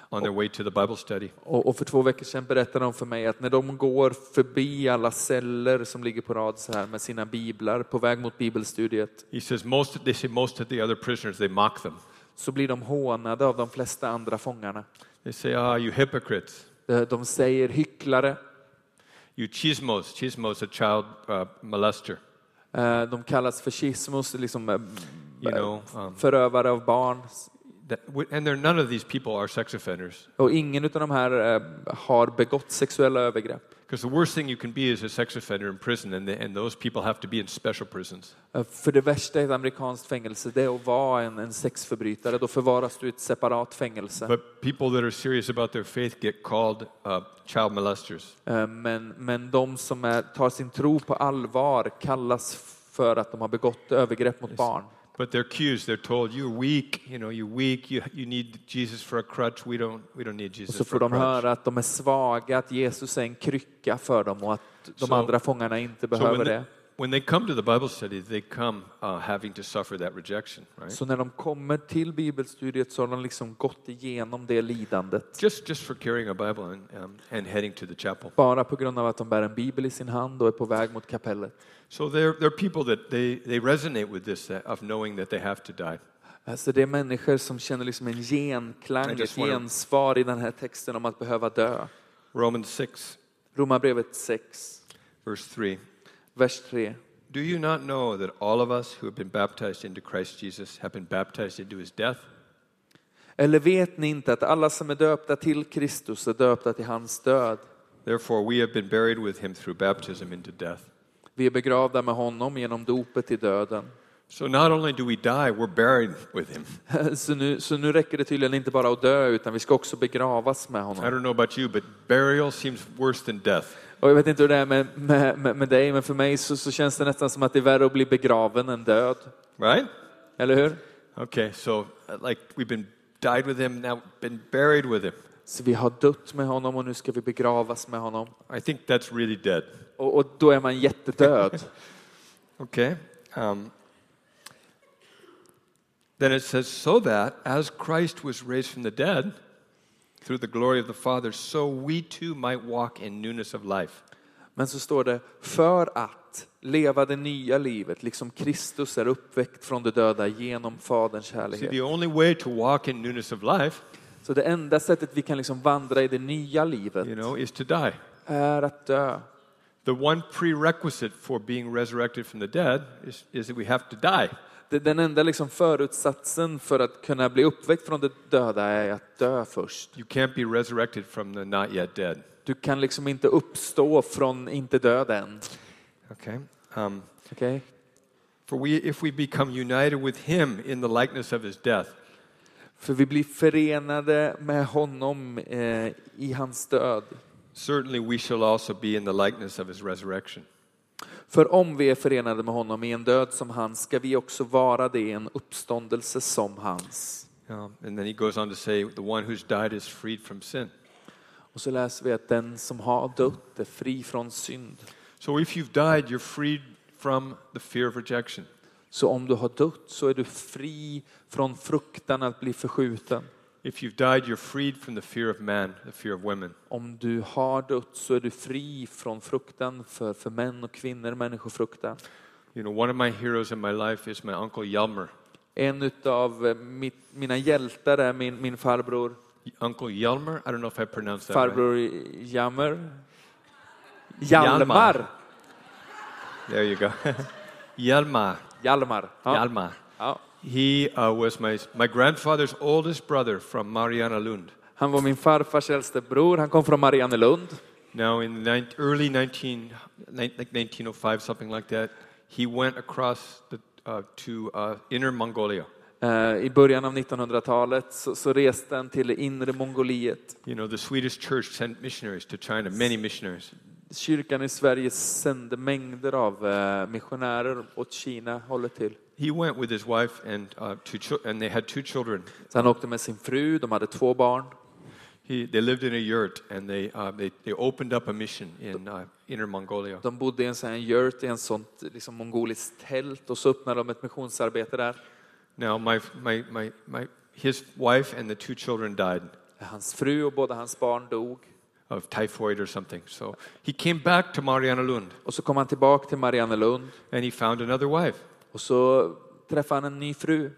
[SPEAKER 1] on their way to the Bible study,
[SPEAKER 2] Och, och för två veckor sedan berättade de för mig att när de går förbi alla celler som ligger på rad så här med sina biblar på väg mot bibelstudiet
[SPEAKER 1] he says most. They say most of the other prisoners they mock them.
[SPEAKER 2] så blir de hånade av de flesta andra fångarna.
[SPEAKER 1] They say, "Ah, you hypocrites,
[SPEAKER 2] Eh, De säger hycklare,
[SPEAKER 1] you chismos." Chismos, a child uh, molester.
[SPEAKER 2] Eh, De kallas för schismos, liksom eh,
[SPEAKER 1] You know, um,
[SPEAKER 2] förövare av barn.
[SPEAKER 1] That, w- and they're, none of these people are sex offenders
[SPEAKER 2] Och ingen av de här eh, har begått sexuella övergrepp.
[SPEAKER 1] because the worst thing you can be is a sex offender in prison, and, the, and those people have to be in special prisons.
[SPEAKER 2] Eh, För det värsta i ett amerikanskt fängelse, det är att vara en, en sexförbrytare. Då förvaras du i ett separat fängelse.
[SPEAKER 1] But people that are serious about their faith get called uh, child molesters.
[SPEAKER 2] Eh, Men, men de som är, tar sin tro på allvar kallas för att de har begått övergrepp mot barn.
[SPEAKER 1] But they're accused. They're told, "You're weak. You know, you're weak. You, you need Jesus for a crutch. We don't. We don't need
[SPEAKER 2] Och
[SPEAKER 1] Jesus
[SPEAKER 2] så
[SPEAKER 1] for
[SPEAKER 2] får
[SPEAKER 1] a
[SPEAKER 2] de
[SPEAKER 1] crutch."
[SPEAKER 2] höra att de är svaga, att Jesus är en krycka för dem och att de
[SPEAKER 1] Så-
[SPEAKER 2] andra fångarna inte
[SPEAKER 1] So
[SPEAKER 2] behöver
[SPEAKER 1] when they,
[SPEAKER 2] det.
[SPEAKER 1] when they come to the Bible study, they come uh, having to suffer that rejection, right?
[SPEAKER 2] Så när de kommer till bibelstudiet så har de liksom gått igenom det lidandet.
[SPEAKER 1] Just just for carrying a Bible and um, and heading to the chapel.
[SPEAKER 2] Bara på grund av att de bär en bibel i sin hand och är på väg mot kapellet.
[SPEAKER 1] So there there are people that they they resonate with this uh, of knowing that they have to die.
[SPEAKER 2] Alltså det är människor som känner liksom en genklang,
[SPEAKER 1] I
[SPEAKER 2] ett
[SPEAKER 1] just wanna-
[SPEAKER 2] gensvar i den här texten om att behöva dö.
[SPEAKER 1] Romans six
[SPEAKER 2] Romarbrevet 6,
[SPEAKER 1] verse three.
[SPEAKER 2] vers 3.
[SPEAKER 1] Do you not know that all of us who have been baptized into Christ Jesus have been baptized into His death?
[SPEAKER 2] Eller vet ni inte att alla som är döpta till Kristus är döpta till hans död?
[SPEAKER 1] Therefore, we have been buried with Him through baptism into death.
[SPEAKER 2] Vi är begravda med honom genom dopet i döden.
[SPEAKER 1] So not only do we die, we're buried with him.
[SPEAKER 2] Så nu, så nu räcker det tydligen inte bara att dö, utan vi ska också begravas med
[SPEAKER 1] I
[SPEAKER 2] honom.
[SPEAKER 1] don't know about you, but burial seems worse than death.
[SPEAKER 2] Och jag vet inte hur det är med, med, med, med dig, men för mig så, så känns det nästan som att det är värre att bli begraven än död.
[SPEAKER 1] Right?
[SPEAKER 2] Eller hur?
[SPEAKER 1] Okay, so uh, like we've been died with him, now been buried with him.
[SPEAKER 2] Så vi har dött med honom och nu ska vi begravas med honom.
[SPEAKER 1] I think that's really dead.
[SPEAKER 2] Och, och då är man jättedöd.
[SPEAKER 1] Okay? Um, then it says, so that as Christ was raised from the dead through the glory of the Father, so we too might walk in newness of life.
[SPEAKER 2] Men så står det, för att leva det nya livet, liksom Kristus är uppväckt från de döda genom Faderns
[SPEAKER 1] See,
[SPEAKER 2] härlighet.
[SPEAKER 1] the only way to walk in newness of life,
[SPEAKER 2] Så det enda sättet vi kan liksom vandra i det nya livet
[SPEAKER 1] you know, is to die.
[SPEAKER 2] är att dö.
[SPEAKER 1] The one prerequisite for being resurrected from the dead is, is that we have to die.
[SPEAKER 2] Det- Den enda liksom förutsatsen för att kunna bli uppväckt från de döda är att dö först.
[SPEAKER 1] You can't be resurrected from the not yet dead.
[SPEAKER 2] Du kan liksom inte uppstå från inte död än.
[SPEAKER 1] Okay? Um,
[SPEAKER 2] Okej?
[SPEAKER 1] for we, if we become united with him in the likeness of his death,
[SPEAKER 2] För vi blir förenade med honom eh, i hans död.
[SPEAKER 1] certainly we shall also be in the likeness of his resurrection.
[SPEAKER 2] För om vi är förenade med honom i en död som hans ska vi också vara det i en uppståndelse som hans.
[SPEAKER 1] Um, and then he goes on to say, the one who's died is freed from sin.
[SPEAKER 2] Och så läser vi att den som har dött är fri från synd.
[SPEAKER 1] So if you've died, you're freed from the fear of rejection.
[SPEAKER 2] Så om du har dött så är du fri från fruktan att bli förskjuten.
[SPEAKER 1] If you've died, you're freed from the fear of man, the fear of women.
[SPEAKER 2] Om du har dött så är du fri från fruktan för, för män och kvinnor, människofruktan.
[SPEAKER 1] You know, one of my heroes in my life is my uncle Yelmer.
[SPEAKER 2] En av mina hjältar är min, min farbror,
[SPEAKER 1] Uncle Yelmer. I don't know if I pronounced that right.
[SPEAKER 2] farbror Jammer. Hjalmar!
[SPEAKER 1] There you go. Yelmer.
[SPEAKER 2] Hjalmar. Ja.
[SPEAKER 1] Yelmer.
[SPEAKER 2] Ja.
[SPEAKER 1] He uh, was my, my grandfather's oldest brother from Mariana Lund.
[SPEAKER 2] Han var min farfars äldste bror, han kom från Mariannelund.
[SPEAKER 1] Now, in the nine, early 19, nine- like 1905, something like that, he went across the, uh, to uh, Inner Mongolia.
[SPEAKER 2] Eh, I början av 1900-talet så, så reste han till inre Mongoliet.
[SPEAKER 1] You know, the Swedish church sent missionaries to China, many missionaries.
[SPEAKER 2] Kyrkan i Sverige sände mängder av eh, missionärer åt Kina, hållet till.
[SPEAKER 1] He went with his wife and, uh, two chil- and they had two children.
[SPEAKER 2] Så han åkte med sin fru, de hade två barn.
[SPEAKER 1] He, they lived in a yurt and they, uh, they, they opened up a mission in uh, Inner Mongolia.
[SPEAKER 2] De bodde i en sån här yurt, i en sånt liksom mongoliskt tält och så öppnade de ett missionsarbete där.
[SPEAKER 1] Now, my, my, my, my, his wife and the two children died
[SPEAKER 2] Hans fru och båda hans barn dog.
[SPEAKER 1] of typhoid or something. So he came back to Mariana Lund
[SPEAKER 2] Och så kom han tillbaka till Mariannelund
[SPEAKER 1] and he found another wife,
[SPEAKER 2] och så träffade han en ny fru.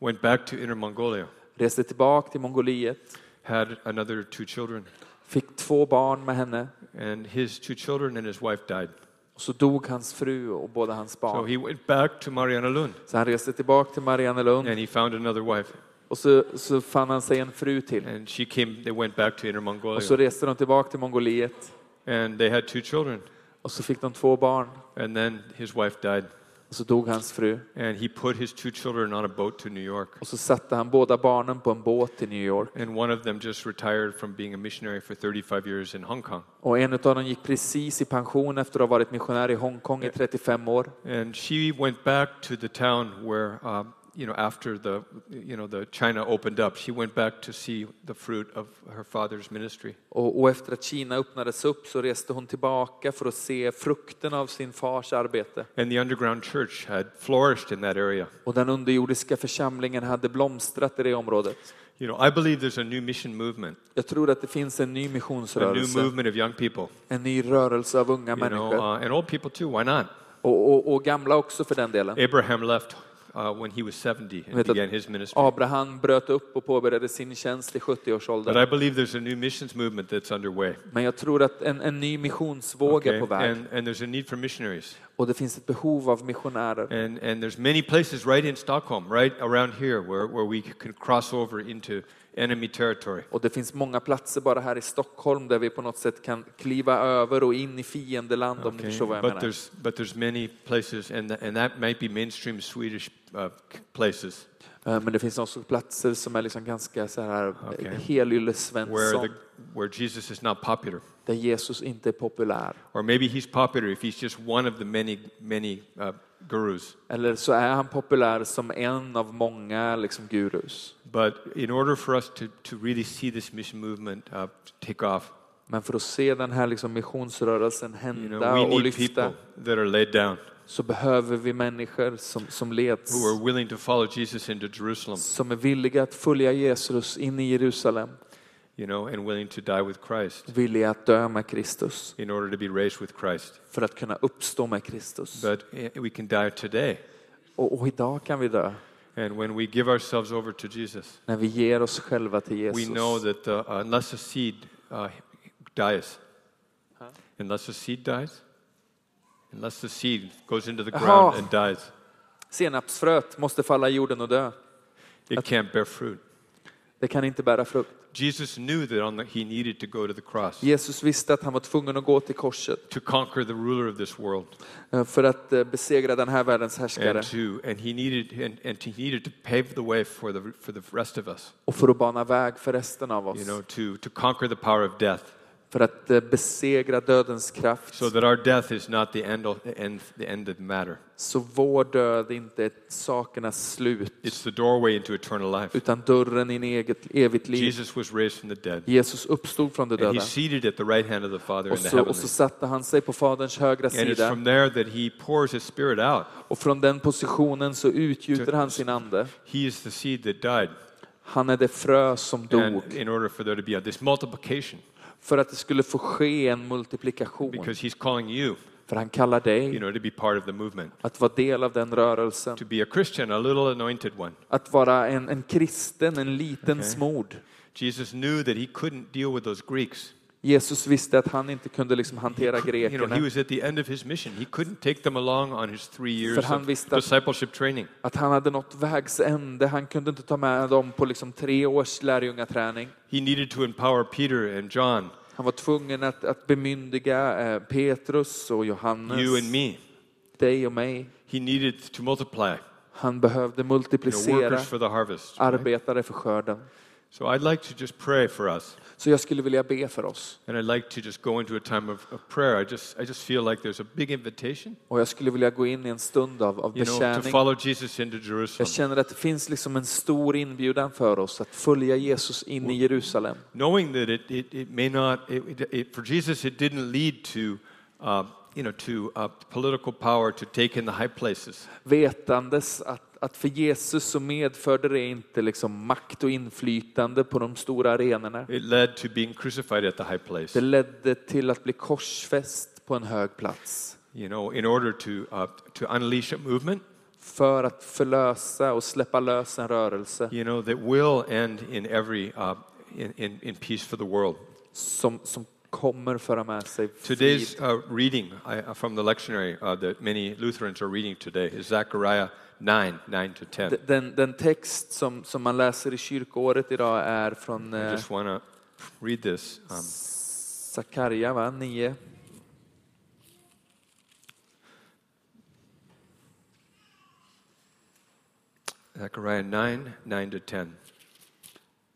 [SPEAKER 1] went back to Inner Mongolia,
[SPEAKER 2] Reste tillbaka till Mongoliet,
[SPEAKER 1] had another two children.
[SPEAKER 2] fick två barn med henne
[SPEAKER 1] And his two children and his wife died.
[SPEAKER 2] och så dog hans fru och båda hans
[SPEAKER 1] So
[SPEAKER 2] barn.
[SPEAKER 1] he went back to Mariana Lund
[SPEAKER 2] Så han reste tillbaka till Mariannelund
[SPEAKER 1] and he found another wife.
[SPEAKER 2] Och så, så fann han sig en fru till.
[SPEAKER 1] And she came, they went back to Inner
[SPEAKER 2] Och så
[SPEAKER 1] Mongolia.
[SPEAKER 2] reste de tillbaka till Mongoliet
[SPEAKER 1] And they had two children.
[SPEAKER 2] och så fick de två barn.
[SPEAKER 1] And then his wife died.
[SPEAKER 2] Och så dog hans fru.
[SPEAKER 1] And he put his two children on a boat to New York.
[SPEAKER 2] Och så satte han båda barnen på en båt till New York.
[SPEAKER 1] And one of them just retired from being a missionary for 35 years in Hong Kong.
[SPEAKER 2] Och en av dem gick precis i pension efter att ha varit missionär i Hongkong i 35 år.
[SPEAKER 1] And she went back to the town where, um, you know, after the, you know, the China opened up, she went back to see the fruit of her father's ministry.
[SPEAKER 2] Och, och efter att Kina öppnades upp så reste hon tillbaka för att se frukten av sin fars arbete.
[SPEAKER 1] And the underground church had flourished in that area.
[SPEAKER 2] Och den underjordiska församlingen hade blomstrat i det området.
[SPEAKER 1] You know, I believe there's a new mission movement,
[SPEAKER 2] Jag tror att det finns en ny
[SPEAKER 1] a new
[SPEAKER 2] missionsrörelse,
[SPEAKER 1] movement of young people.
[SPEAKER 2] en ny rörelse av unga
[SPEAKER 1] You know,
[SPEAKER 2] människor.
[SPEAKER 1] uh, and old people too. Why not?
[SPEAKER 2] Och, och, och gamla också för den delen.
[SPEAKER 1] Abraham left uh, when he was 70 and
[SPEAKER 2] Vet att-
[SPEAKER 1] began his ministry.
[SPEAKER 2] Abraham bröt upp och påbörjade sin tjänst i
[SPEAKER 1] But
[SPEAKER 2] 70-årsåldern.
[SPEAKER 1] I believe there's a new missions movement that's underway.
[SPEAKER 2] Men jag tror att en, en ny missionsvåg är
[SPEAKER 1] okay?
[SPEAKER 2] på väg.
[SPEAKER 1] And, and there's a need for missionaries.
[SPEAKER 2] Och det finns ett behov av missionärer.
[SPEAKER 1] And, and there's many places right in Stockholm, right around here, where, where we can cross over into enemy territory.
[SPEAKER 2] Och det finns många platser bara här i Stockholm där vi på något sätt kan kliva över och in i fiendeland om ni
[SPEAKER 1] okay?
[SPEAKER 2] förstår vad jag
[SPEAKER 1] But
[SPEAKER 2] menar.
[SPEAKER 1] there's but there's many places, and th- and that might be mainstream Swedish uh, c- places
[SPEAKER 2] Eh, Men det finns också platser som är liksom ganska så här
[SPEAKER 1] Okej.
[SPEAKER 2] okay. helylle
[SPEAKER 1] where
[SPEAKER 2] Svensson,
[SPEAKER 1] the, where Jesus is not popular,
[SPEAKER 2] där Jesus inte är populär.
[SPEAKER 1] or maybe he's popular if he's just one of the many many uh, gurus.
[SPEAKER 2] Eller så är han populär som en av många liksom, gurus.
[SPEAKER 1] But in order for us to, to really see this mission movement uh, take off,
[SPEAKER 2] Men för att se den här liksom, missionsrörelsen
[SPEAKER 1] you
[SPEAKER 2] hända
[SPEAKER 1] know, we
[SPEAKER 2] och
[SPEAKER 1] need
[SPEAKER 2] lyfta
[SPEAKER 1] people that are laid down,
[SPEAKER 2] så behöver vi människor som, som leds,
[SPEAKER 1] who are willing to follow Jesus into Jerusalem,
[SPEAKER 2] som är villiga att följa Jesus in i Jerusalem,
[SPEAKER 1] you know, and willing to die with Christ
[SPEAKER 2] villiga att dö med Kristus
[SPEAKER 1] in order to be raised with Christ.
[SPEAKER 2] för att kunna uppstå med Kristus.
[SPEAKER 1] But eh, we can die today.
[SPEAKER 2] Och, och idag kan vi dö
[SPEAKER 1] And when we give ourselves over to Jesus,
[SPEAKER 2] när vi ger oss själva till
[SPEAKER 1] we know
[SPEAKER 2] Jesus.
[SPEAKER 1] that uh, unless a seed uh, dies, unless a seed dies, unless the seed goes into the ground
[SPEAKER 2] Jaha.
[SPEAKER 1] and dies,
[SPEAKER 2] Senapsfröet måste falla i jorden och dö.
[SPEAKER 1] it can't bear fruit.
[SPEAKER 2] Det kan inte bära frukt.
[SPEAKER 1] Jesus knew that on the, he needed to go to the cross
[SPEAKER 2] Jesus visste att han var tvungen att gå till korset
[SPEAKER 1] to conquer the ruler of this world,
[SPEAKER 2] eh, för att eh, besegra den här världens härskare
[SPEAKER 1] and to and he needed and, and he needed to pave the way for the for the rest of us.
[SPEAKER 2] och för att bana väg för resten av
[SPEAKER 1] You
[SPEAKER 2] oss.
[SPEAKER 1] know, to to conquer the power of death,
[SPEAKER 2] För att eh, besegra dödens kraft
[SPEAKER 1] so that our death is not the end of, the end the end of matter.
[SPEAKER 2] Så vår död inte är sakernas slut,
[SPEAKER 1] It's the doorway into eternal life.
[SPEAKER 2] utan dörren in eget evigt liv.
[SPEAKER 1] Jesus was raised from the dead.
[SPEAKER 2] Jesus uppstod från de
[SPEAKER 1] And
[SPEAKER 2] döda.
[SPEAKER 1] he's seated at the right hand of the Father
[SPEAKER 2] Och
[SPEAKER 1] in the
[SPEAKER 2] så, och så
[SPEAKER 1] heavens.
[SPEAKER 2] satte han sig på Faderns högra
[SPEAKER 1] And it's
[SPEAKER 2] sida.
[SPEAKER 1] from there that he pours his spirit out.
[SPEAKER 2] Och från den positionen så utgjuter han sin ande.
[SPEAKER 1] He is the seed that died.
[SPEAKER 2] Han är det frö som
[SPEAKER 1] And
[SPEAKER 2] dog.
[SPEAKER 1] in order for there to be a, this multiplication,
[SPEAKER 2] För att det skulle få ske en multiplikation.
[SPEAKER 1] because he's calling you,
[SPEAKER 2] För han kallar
[SPEAKER 1] you
[SPEAKER 2] dig
[SPEAKER 1] know, to be part of the movement,
[SPEAKER 2] att vara del av den rörelsen.
[SPEAKER 1] to be a Christian, a little anointed one.
[SPEAKER 2] Att vara en, en kristen, en liten smord.
[SPEAKER 1] Jesus knew that he couldn't deal with those Greeks.
[SPEAKER 2] Jesus visste att han inte kunde liksom hantera
[SPEAKER 1] You know, he
[SPEAKER 2] grekerna.
[SPEAKER 1] was at the end of his mission. He couldn't take them along on his three years
[SPEAKER 2] För han
[SPEAKER 1] of
[SPEAKER 2] visste att-
[SPEAKER 1] discipleship training.
[SPEAKER 2] att han hade nått vägs ände. Han kunde inte ta med dem på liksom tre års lärjungaträning.
[SPEAKER 1] He needed to empower Peter and John,
[SPEAKER 2] Han var tvungen att, att bemyndiga eh, Petrus och Johannes,
[SPEAKER 1] you and me.
[SPEAKER 2] dig och mig.
[SPEAKER 1] He needed to multiply,
[SPEAKER 2] Han behövde
[SPEAKER 1] you know,
[SPEAKER 2] multiplicera
[SPEAKER 1] workers for the harvest.
[SPEAKER 2] arbetare för skörden.
[SPEAKER 1] So I'd like to just pray for us,
[SPEAKER 2] Så jag skulle vilja be för oss.
[SPEAKER 1] and I'd like to just go into a time of, of prayer. I just, I just feel like there's a big invitation,
[SPEAKER 2] Och jag skulle vilja gå in i en stund av, av
[SPEAKER 1] you know, to
[SPEAKER 2] betjäning.
[SPEAKER 1] follow Jesus into
[SPEAKER 2] Jag
[SPEAKER 1] Jerusalem,
[SPEAKER 2] känner att det finns liksom en stor inbjudan för oss att följa Jesus in i Jerusalem.
[SPEAKER 1] knowing that it, it, it may not, it, it, it, for Jesus, it didn't lead to, uh, you know, to uh, political power to take in the high places.
[SPEAKER 2] vetandes att, att för Jesus så medförde det inte liksom makt och inflytande på de stora arenorna.
[SPEAKER 1] It led to being crucified at the high place,
[SPEAKER 2] Det ledde till att bli korsfäst på en hög plats
[SPEAKER 1] you know, in order to, uh, to unleash a movement,
[SPEAKER 2] för att förlösa och släppa lös en rörelse
[SPEAKER 1] you know, that will end in every, uh, in, in, in peace for the world.
[SPEAKER 2] som, som kommer föra med sig frid.
[SPEAKER 1] Today's uh, reading I, from the lectionary uh, that many Lutherans are reading today is Zechariah 9, 9 to 10.
[SPEAKER 2] D- Den, den text som, som man läser i kyrkoåret idag är från
[SPEAKER 1] I
[SPEAKER 2] eh,
[SPEAKER 1] just want to read this. Um,
[SPEAKER 2] Sakarja, va? 9.
[SPEAKER 1] Zechariah 9, 9 to 10.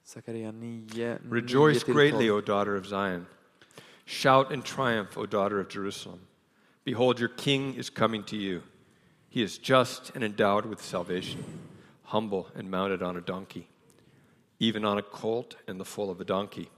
[SPEAKER 2] Sakarja 9.
[SPEAKER 1] Rejoice
[SPEAKER 2] 9 till
[SPEAKER 1] greatly,
[SPEAKER 2] 12.
[SPEAKER 1] O daughter of Zion. Shout in triumph, O daughter of Jerusalem. Behold, your king is coming to you. He is just and endowed with salvation, humble and mounted on a donkey, even on a colt and the foal of a donkey.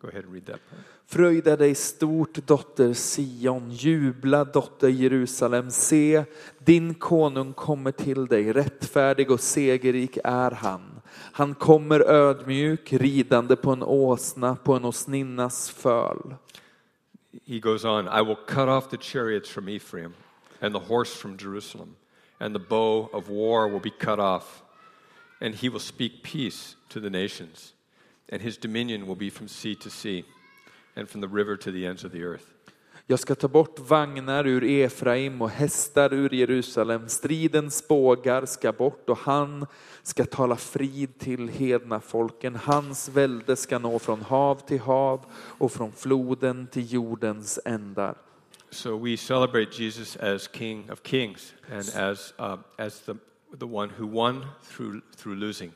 [SPEAKER 1] Go ahead and read that part.
[SPEAKER 2] Fröjda dig stort, dotter Sion. Jubla, dotter Jerusalem. Se, din konung kommer till dig. Rättfärdig och segerrik är han. Han kommer ödmjuk, ridande på en åsna, på en åsninnas föl.
[SPEAKER 1] He goes on I will cut off the chariots from Ephraim and the horse from Jerusalem, and the bow of war will be cut off, and he will speak peace to the nations, and his dominion will be from sea to sea and from the river to the ends of the earth.
[SPEAKER 2] Jag ska ta bort vagnar ur Efraim och hästar ur Jerusalem. Stridens bågar ska bort och han ska tala frid till hedna folken. Hans välde ska nå från hav till hav och från floden till jordens ändar.
[SPEAKER 1] So we celebrate Jesus as King of Kings and as, uh, as the, the one who won through, through losing.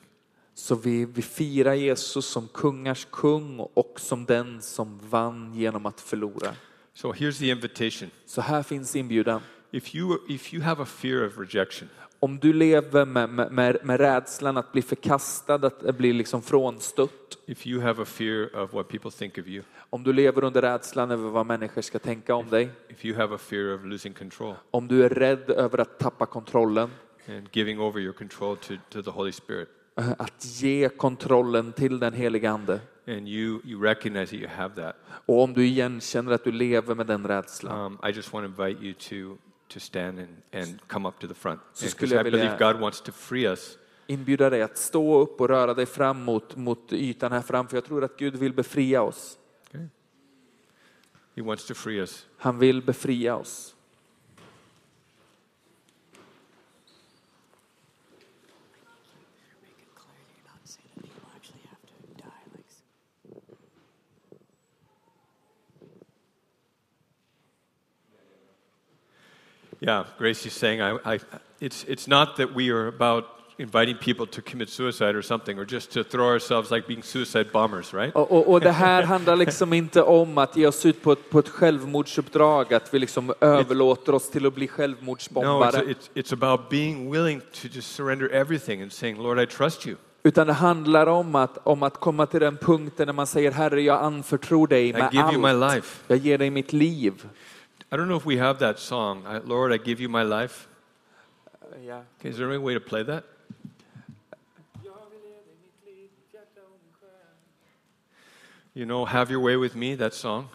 [SPEAKER 2] Så vi, vi firar Jesus som kungars kung och som den som vann genom att förlora.
[SPEAKER 1] So here's the invitation.
[SPEAKER 2] Så här finns inbjudan.
[SPEAKER 1] If you, if you have a fear of rejection,
[SPEAKER 2] Om du lever med, med, med, med rädslan att bli förkastad, att bli liksom frånstött
[SPEAKER 1] if you have a fear of what people think of you,
[SPEAKER 2] Om du lever under rädslan över vad människor ska tänka om dig,
[SPEAKER 1] if you have a fear of losing control
[SPEAKER 2] om du är rädd över att tappa kontrollen,
[SPEAKER 1] and giving over your control to, to the Holy Spirit,
[SPEAKER 2] eh, att ge kontrollen till den heliga Ande
[SPEAKER 1] and you, you recognize that you have that,
[SPEAKER 2] och om du igen känner att du lever med den rädslan.
[SPEAKER 1] um, I just want to invite you to, to stand and, and come up to the front.
[SPEAKER 2] Så
[SPEAKER 1] Because
[SPEAKER 2] skulle jag
[SPEAKER 1] I
[SPEAKER 2] vilja-
[SPEAKER 1] believe God wants to free us
[SPEAKER 2] Inbjuda dig att stå upp och röra dig fram mot, mot ytan här fram, för jag tror att Gud vill befria oss.
[SPEAKER 1] He wants to free us.
[SPEAKER 2] Han vill befria oss.
[SPEAKER 3] make it clear you're not saying that people actually have to die like
[SPEAKER 1] Yeah, Gracie's saying I, I, it's, it's not that we are about inviting people to commit suicide or something, or just to throw ourselves like being suicide bombers, right?
[SPEAKER 2] Och, och, och det här handlar liksom inte om att ge oss ut på ett, på ett självmordsuppdrag, att vi liksom överlåter oss till att bli
[SPEAKER 1] No, it's,
[SPEAKER 2] självmordsbombare.
[SPEAKER 1] it's, it's about being willing to just surrender everything and saying, Lord, I trust you.
[SPEAKER 2] Utan det handlar om att, om att komma till den punkten när man säger Herre, jag anförtror dig
[SPEAKER 1] I
[SPEAKER 2] med
[SPEAKER 1] give you my
[SPEAKER 2] allt.
[SPEAKER 1] life.
[SPEAKER 2] Jag ger dig mitt liv.
[SPEAKER 1] I don't know if we have that song, I, Lord, I give you my life.
[SPEAKER 2] Ja.
[SPEAKER 1] Okay, is there any way to play that? You know, have your way with me, that song.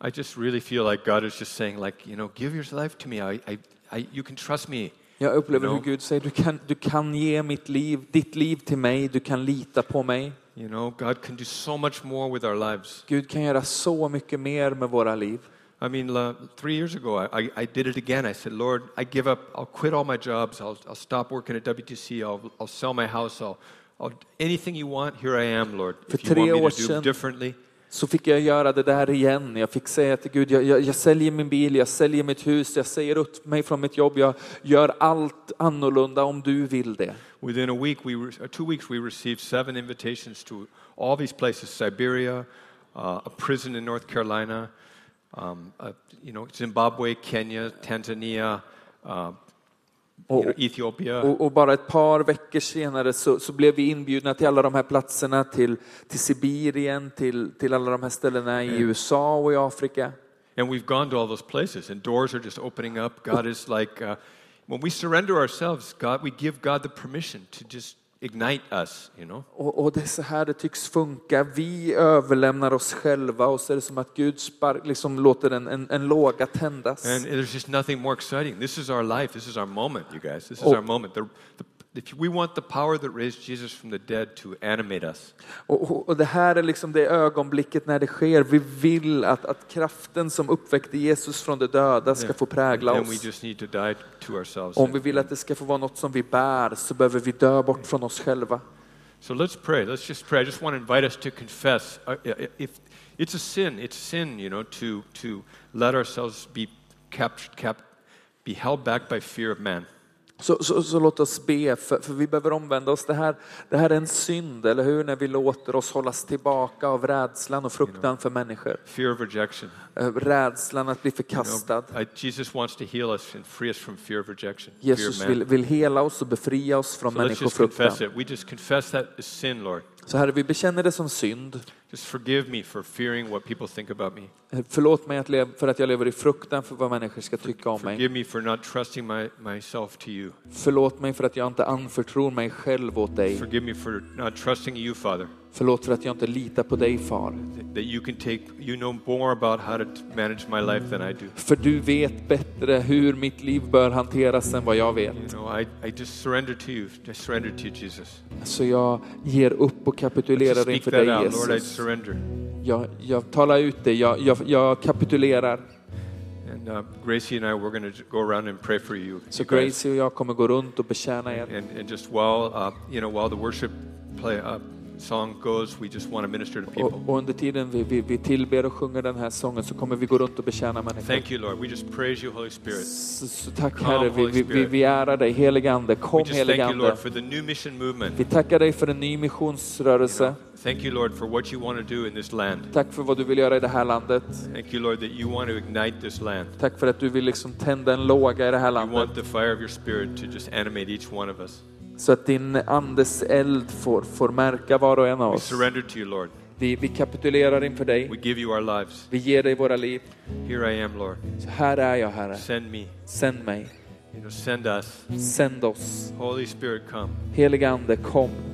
[SPEAKER 1] I just really feel like God is just saying, like, you know, give your life to me. I, I, I, you can trust me.
[SPEAKER 2] Jag upplever
[SPEAKER 1] No.
[SPEAKER 2] hur Gud säger, du kan, du kan ge mitt liv, ditt liv till mig, du kan lita på mig.
[SPEAKER 1] You know, God can do so much more with our lives.
[SPEAKER 2] Gud kan göra så mycket mer med våra liv.
[SPEAKER 1] I mean, la- three years ago, I, I, I did it again. I said, Lord, I give up. I'll quit all my jobs. I'll, I'll stop working at WTC. I'll, I'll sell my house. I'll, I'll, anything you want, here I am, Lord.
[SPEAKER 2] För
[SPEAKER 1] If you want
[SPEAKER 2] tre
[SPEAKER 1] me
[SPEAKER 2] år
[SPEAKER 1] to do
[SPEAKER 2] sedan-
[SPEAKER 1] differently,
[SPEAKER 2] Så fick jag göra det där igen. Jag fick säga till Gud, jag, jag, jag säljer min bil, jag säljer mitt hus, jag säger upp mig från mitt jobb, jag gör allt annorlunda om du vill det.
[SPEAKER 1] Within a week, we re- uh, two weeks, we received seven invitations to all these places: Siberia, uh, a prison in North Carolina, um, uh, you know, Zimbabwe, Kenya, Tanzania, uh, you know, Ethiopia.
[SPEAKER 2] Och, och bara ett par veckor senare så, så blev vi inbjudna till alla de här platserna, till, till Sibirien, till, till alla de här ställena
[SPEAKER 1] Mm.
[SPEAKER 2] i USA och i Afrika.
[SPEAKER 1] And we've gone to all those places, and doors are just opening up. God is like, uh, when we surrender ourselves, God, we give God the permission to just ignite us. You know,
[SPEAKER 2] Och, och det är så här det tycks funka. Vi överlämnar oss själva och så är det som att Gud spark, liksom låter en, en, en låga tändas.
[SPEAKER 1] and there's just nothing more exciting. This is our life. This is our moment, you guys. This is
[SPEAKER 2] Oh.
[SPEAKER 1] our moment. The, the, If we want the power that raised Jesus from the dead to animate us,
[SPEAKER 2] Och, och- och det här är liksom det ögonblicket när det sker. Vi vill att, att kraften som uppväckte Jesus från de döda ska få prägla
[SPEAKER 1] Mm. then we
[SPEAKER 2] oss.
[SPEAKER 1] just need to die to ourselves.
[SPEAKER 2] Om vi vill att det ska få vara något som vi bär så behöver vi dö bort från oss själva.
[SPEAKER 1] So let's pray. Let's just pray. I just want to invite us to confess. Uh, i- i- If it's a sin, it's sin, you know, to to let ourselves be captured, cap, be held back by fear of man.
[SPEAKER 2] Så, så, så låt oss be, för, för vi behöver omvända oss. Det här, det här är en synd, eller hur? När vi låter oss hållas tillbaka av rädslan och fruktan för människor.
[SPEAKER 1] Fear of rejection.
[SPEAKER 2] Eh, Rädslan att bli
[SPEAKER 1] you know.
[SPEAKER 2] förkastad.
[SPEAKER 1] I- Jesus wants to heal us and free us from fear of rejection. fear of
[SPEAKER 2] Jesus
[SPEAKER 1] man.
[SPEAKER 2] vill, vill hela oss och befria oss från
[SPEAKER 1] so let's just
[SPEAKER 2] människofruktan.
[SPEAKER 1] confess it. We just confess that as sin, Lord.
[SPEAKER 2] Så Herre, vi bekänner det som synd.
[SPEAKER 1] Just forgive me for fearing what people think about me.
[SPEAKER 2] Eh, Förlåt mig att lev, för att jag lever i fruktan för vad människor ska tycka om mig.
[SPEAKER 1] Forgive me for not trusting my, myself to you.
[SPEAKER 2] Förlåt mig för att jag inte anförtror mig själv åt dig.
[SPEAKER 1] Forgive me for not trusting you, Father,
[SPEAKER 2] Förlåt för att jag inte litar på dig, Far.
[SPEAKER 1] that you can take, you know more about how to t- manage my life than I do.
[SPEAKER 2] För du vet bättre hur mitt liv bör hanteras än vad jag vet.
[SPEAKER 1] You know, I, I just surrender to you. I surrender to you, Jesus.
[SPEAKER 2] Så jag ger upp och
[SPEAKER 1] Just
[SPEAKER 2] kapitulerar
[SPEAKER 1] speak
[SPEAKER 2] inför
[SPEAKER 1] that
[SPEAKER 2] dig,
[SPEAKER 1] out, Lord. I
[SPEAKER 2] Jesus.
[SPEAKER 1] surrender.
[SPEAKER 2] Jag, jag talar ut det, jag, jag, jag kapitulerar.
[SPEAKER 1] And uh, Gracie and I, we're going to go around and pray for you.
[SPEAKER 2] Så
[SPEAKER 1] you guys.
[SPEAKER 2] Gracie och jag kommer gå runt och betjäna er.
[SPEAKER 1] And, and just while uh, you know, while the worship play uh, song goes, we just want to minister to
[SPEAKER 2] Och,
[SPEAKER 1] people.
[SPEAKER 2] och under tiden vi, vi, vi tillber och sjunger den här sången så kommer vi gå runt och betjäna människor.
[SPEAKER 1] Thank you, Lord. We just praise you, Holy Spirit.
[SPEAKER 2] Så, så tack
[SPEAKER 1] Come,
[SPEAKER 2] Herre, vi,
[SPEAKER 1] Holy
[SPEAKER 2] vi, vi,
[SPEAKER 1] Spirit.
[SPEAKER 2] vi ärar dig. Helige Ande,
[SPEAKER 1] We
[SPEAKER 2] kom
[SPEAKER 1] just thank
[SPEAKER 2] helige
[SPEAKER 1] you,
[SPEAKER 2] Ande.
[SPEAKER 1] Lord, for the new mission movement.
[SPEAKER 2] Vi tackar dig för en ny missionsrörelse.
[SPEAKER 1] Thank you, Lord, for what you want to do in this land.
[SPEAKER 2] Tack för vad du vill göra i det här landet.
[SPEAKER 1] Thank you, Lord, that you want to ignite this land.
[SPEAKER 2] Tack för att du vill liksom tända en låga i det här
[SPEAKER 1] You
[SPEAKER 2] landet.
[SPEAKER 1] want the fire of your Spirit to just animate each one of us.
[SPEAKER 2] Så att din andes eld får, får märka var och en av
[SPEAKER 1] We
[SPEAKER 2] oss.
[SPEAKER 1] surrender to you, Lord.
[SPEAKER 2] Vi, vi kapitulerar inför
[SPEAKER 1] We
[SPEAKER 2] dig.
[SPEAKER 1] give you our lives.
[SPEAKER 2] Vi ger dig våra liv.
[SPEAKER 1] Here I am, Lord.
[SPEAKER 2] Så här är jag Herre.
[SPEAKER 1] Send me.
[SPEAKER 2] Sänd mig.
[SPEAKER 1] You know, send us.
[SPEAKER 2] Sänd oss.
[SPEAKER 1] Holy Spirit, come.
[SPEAKER 2] Helige Ande, kom.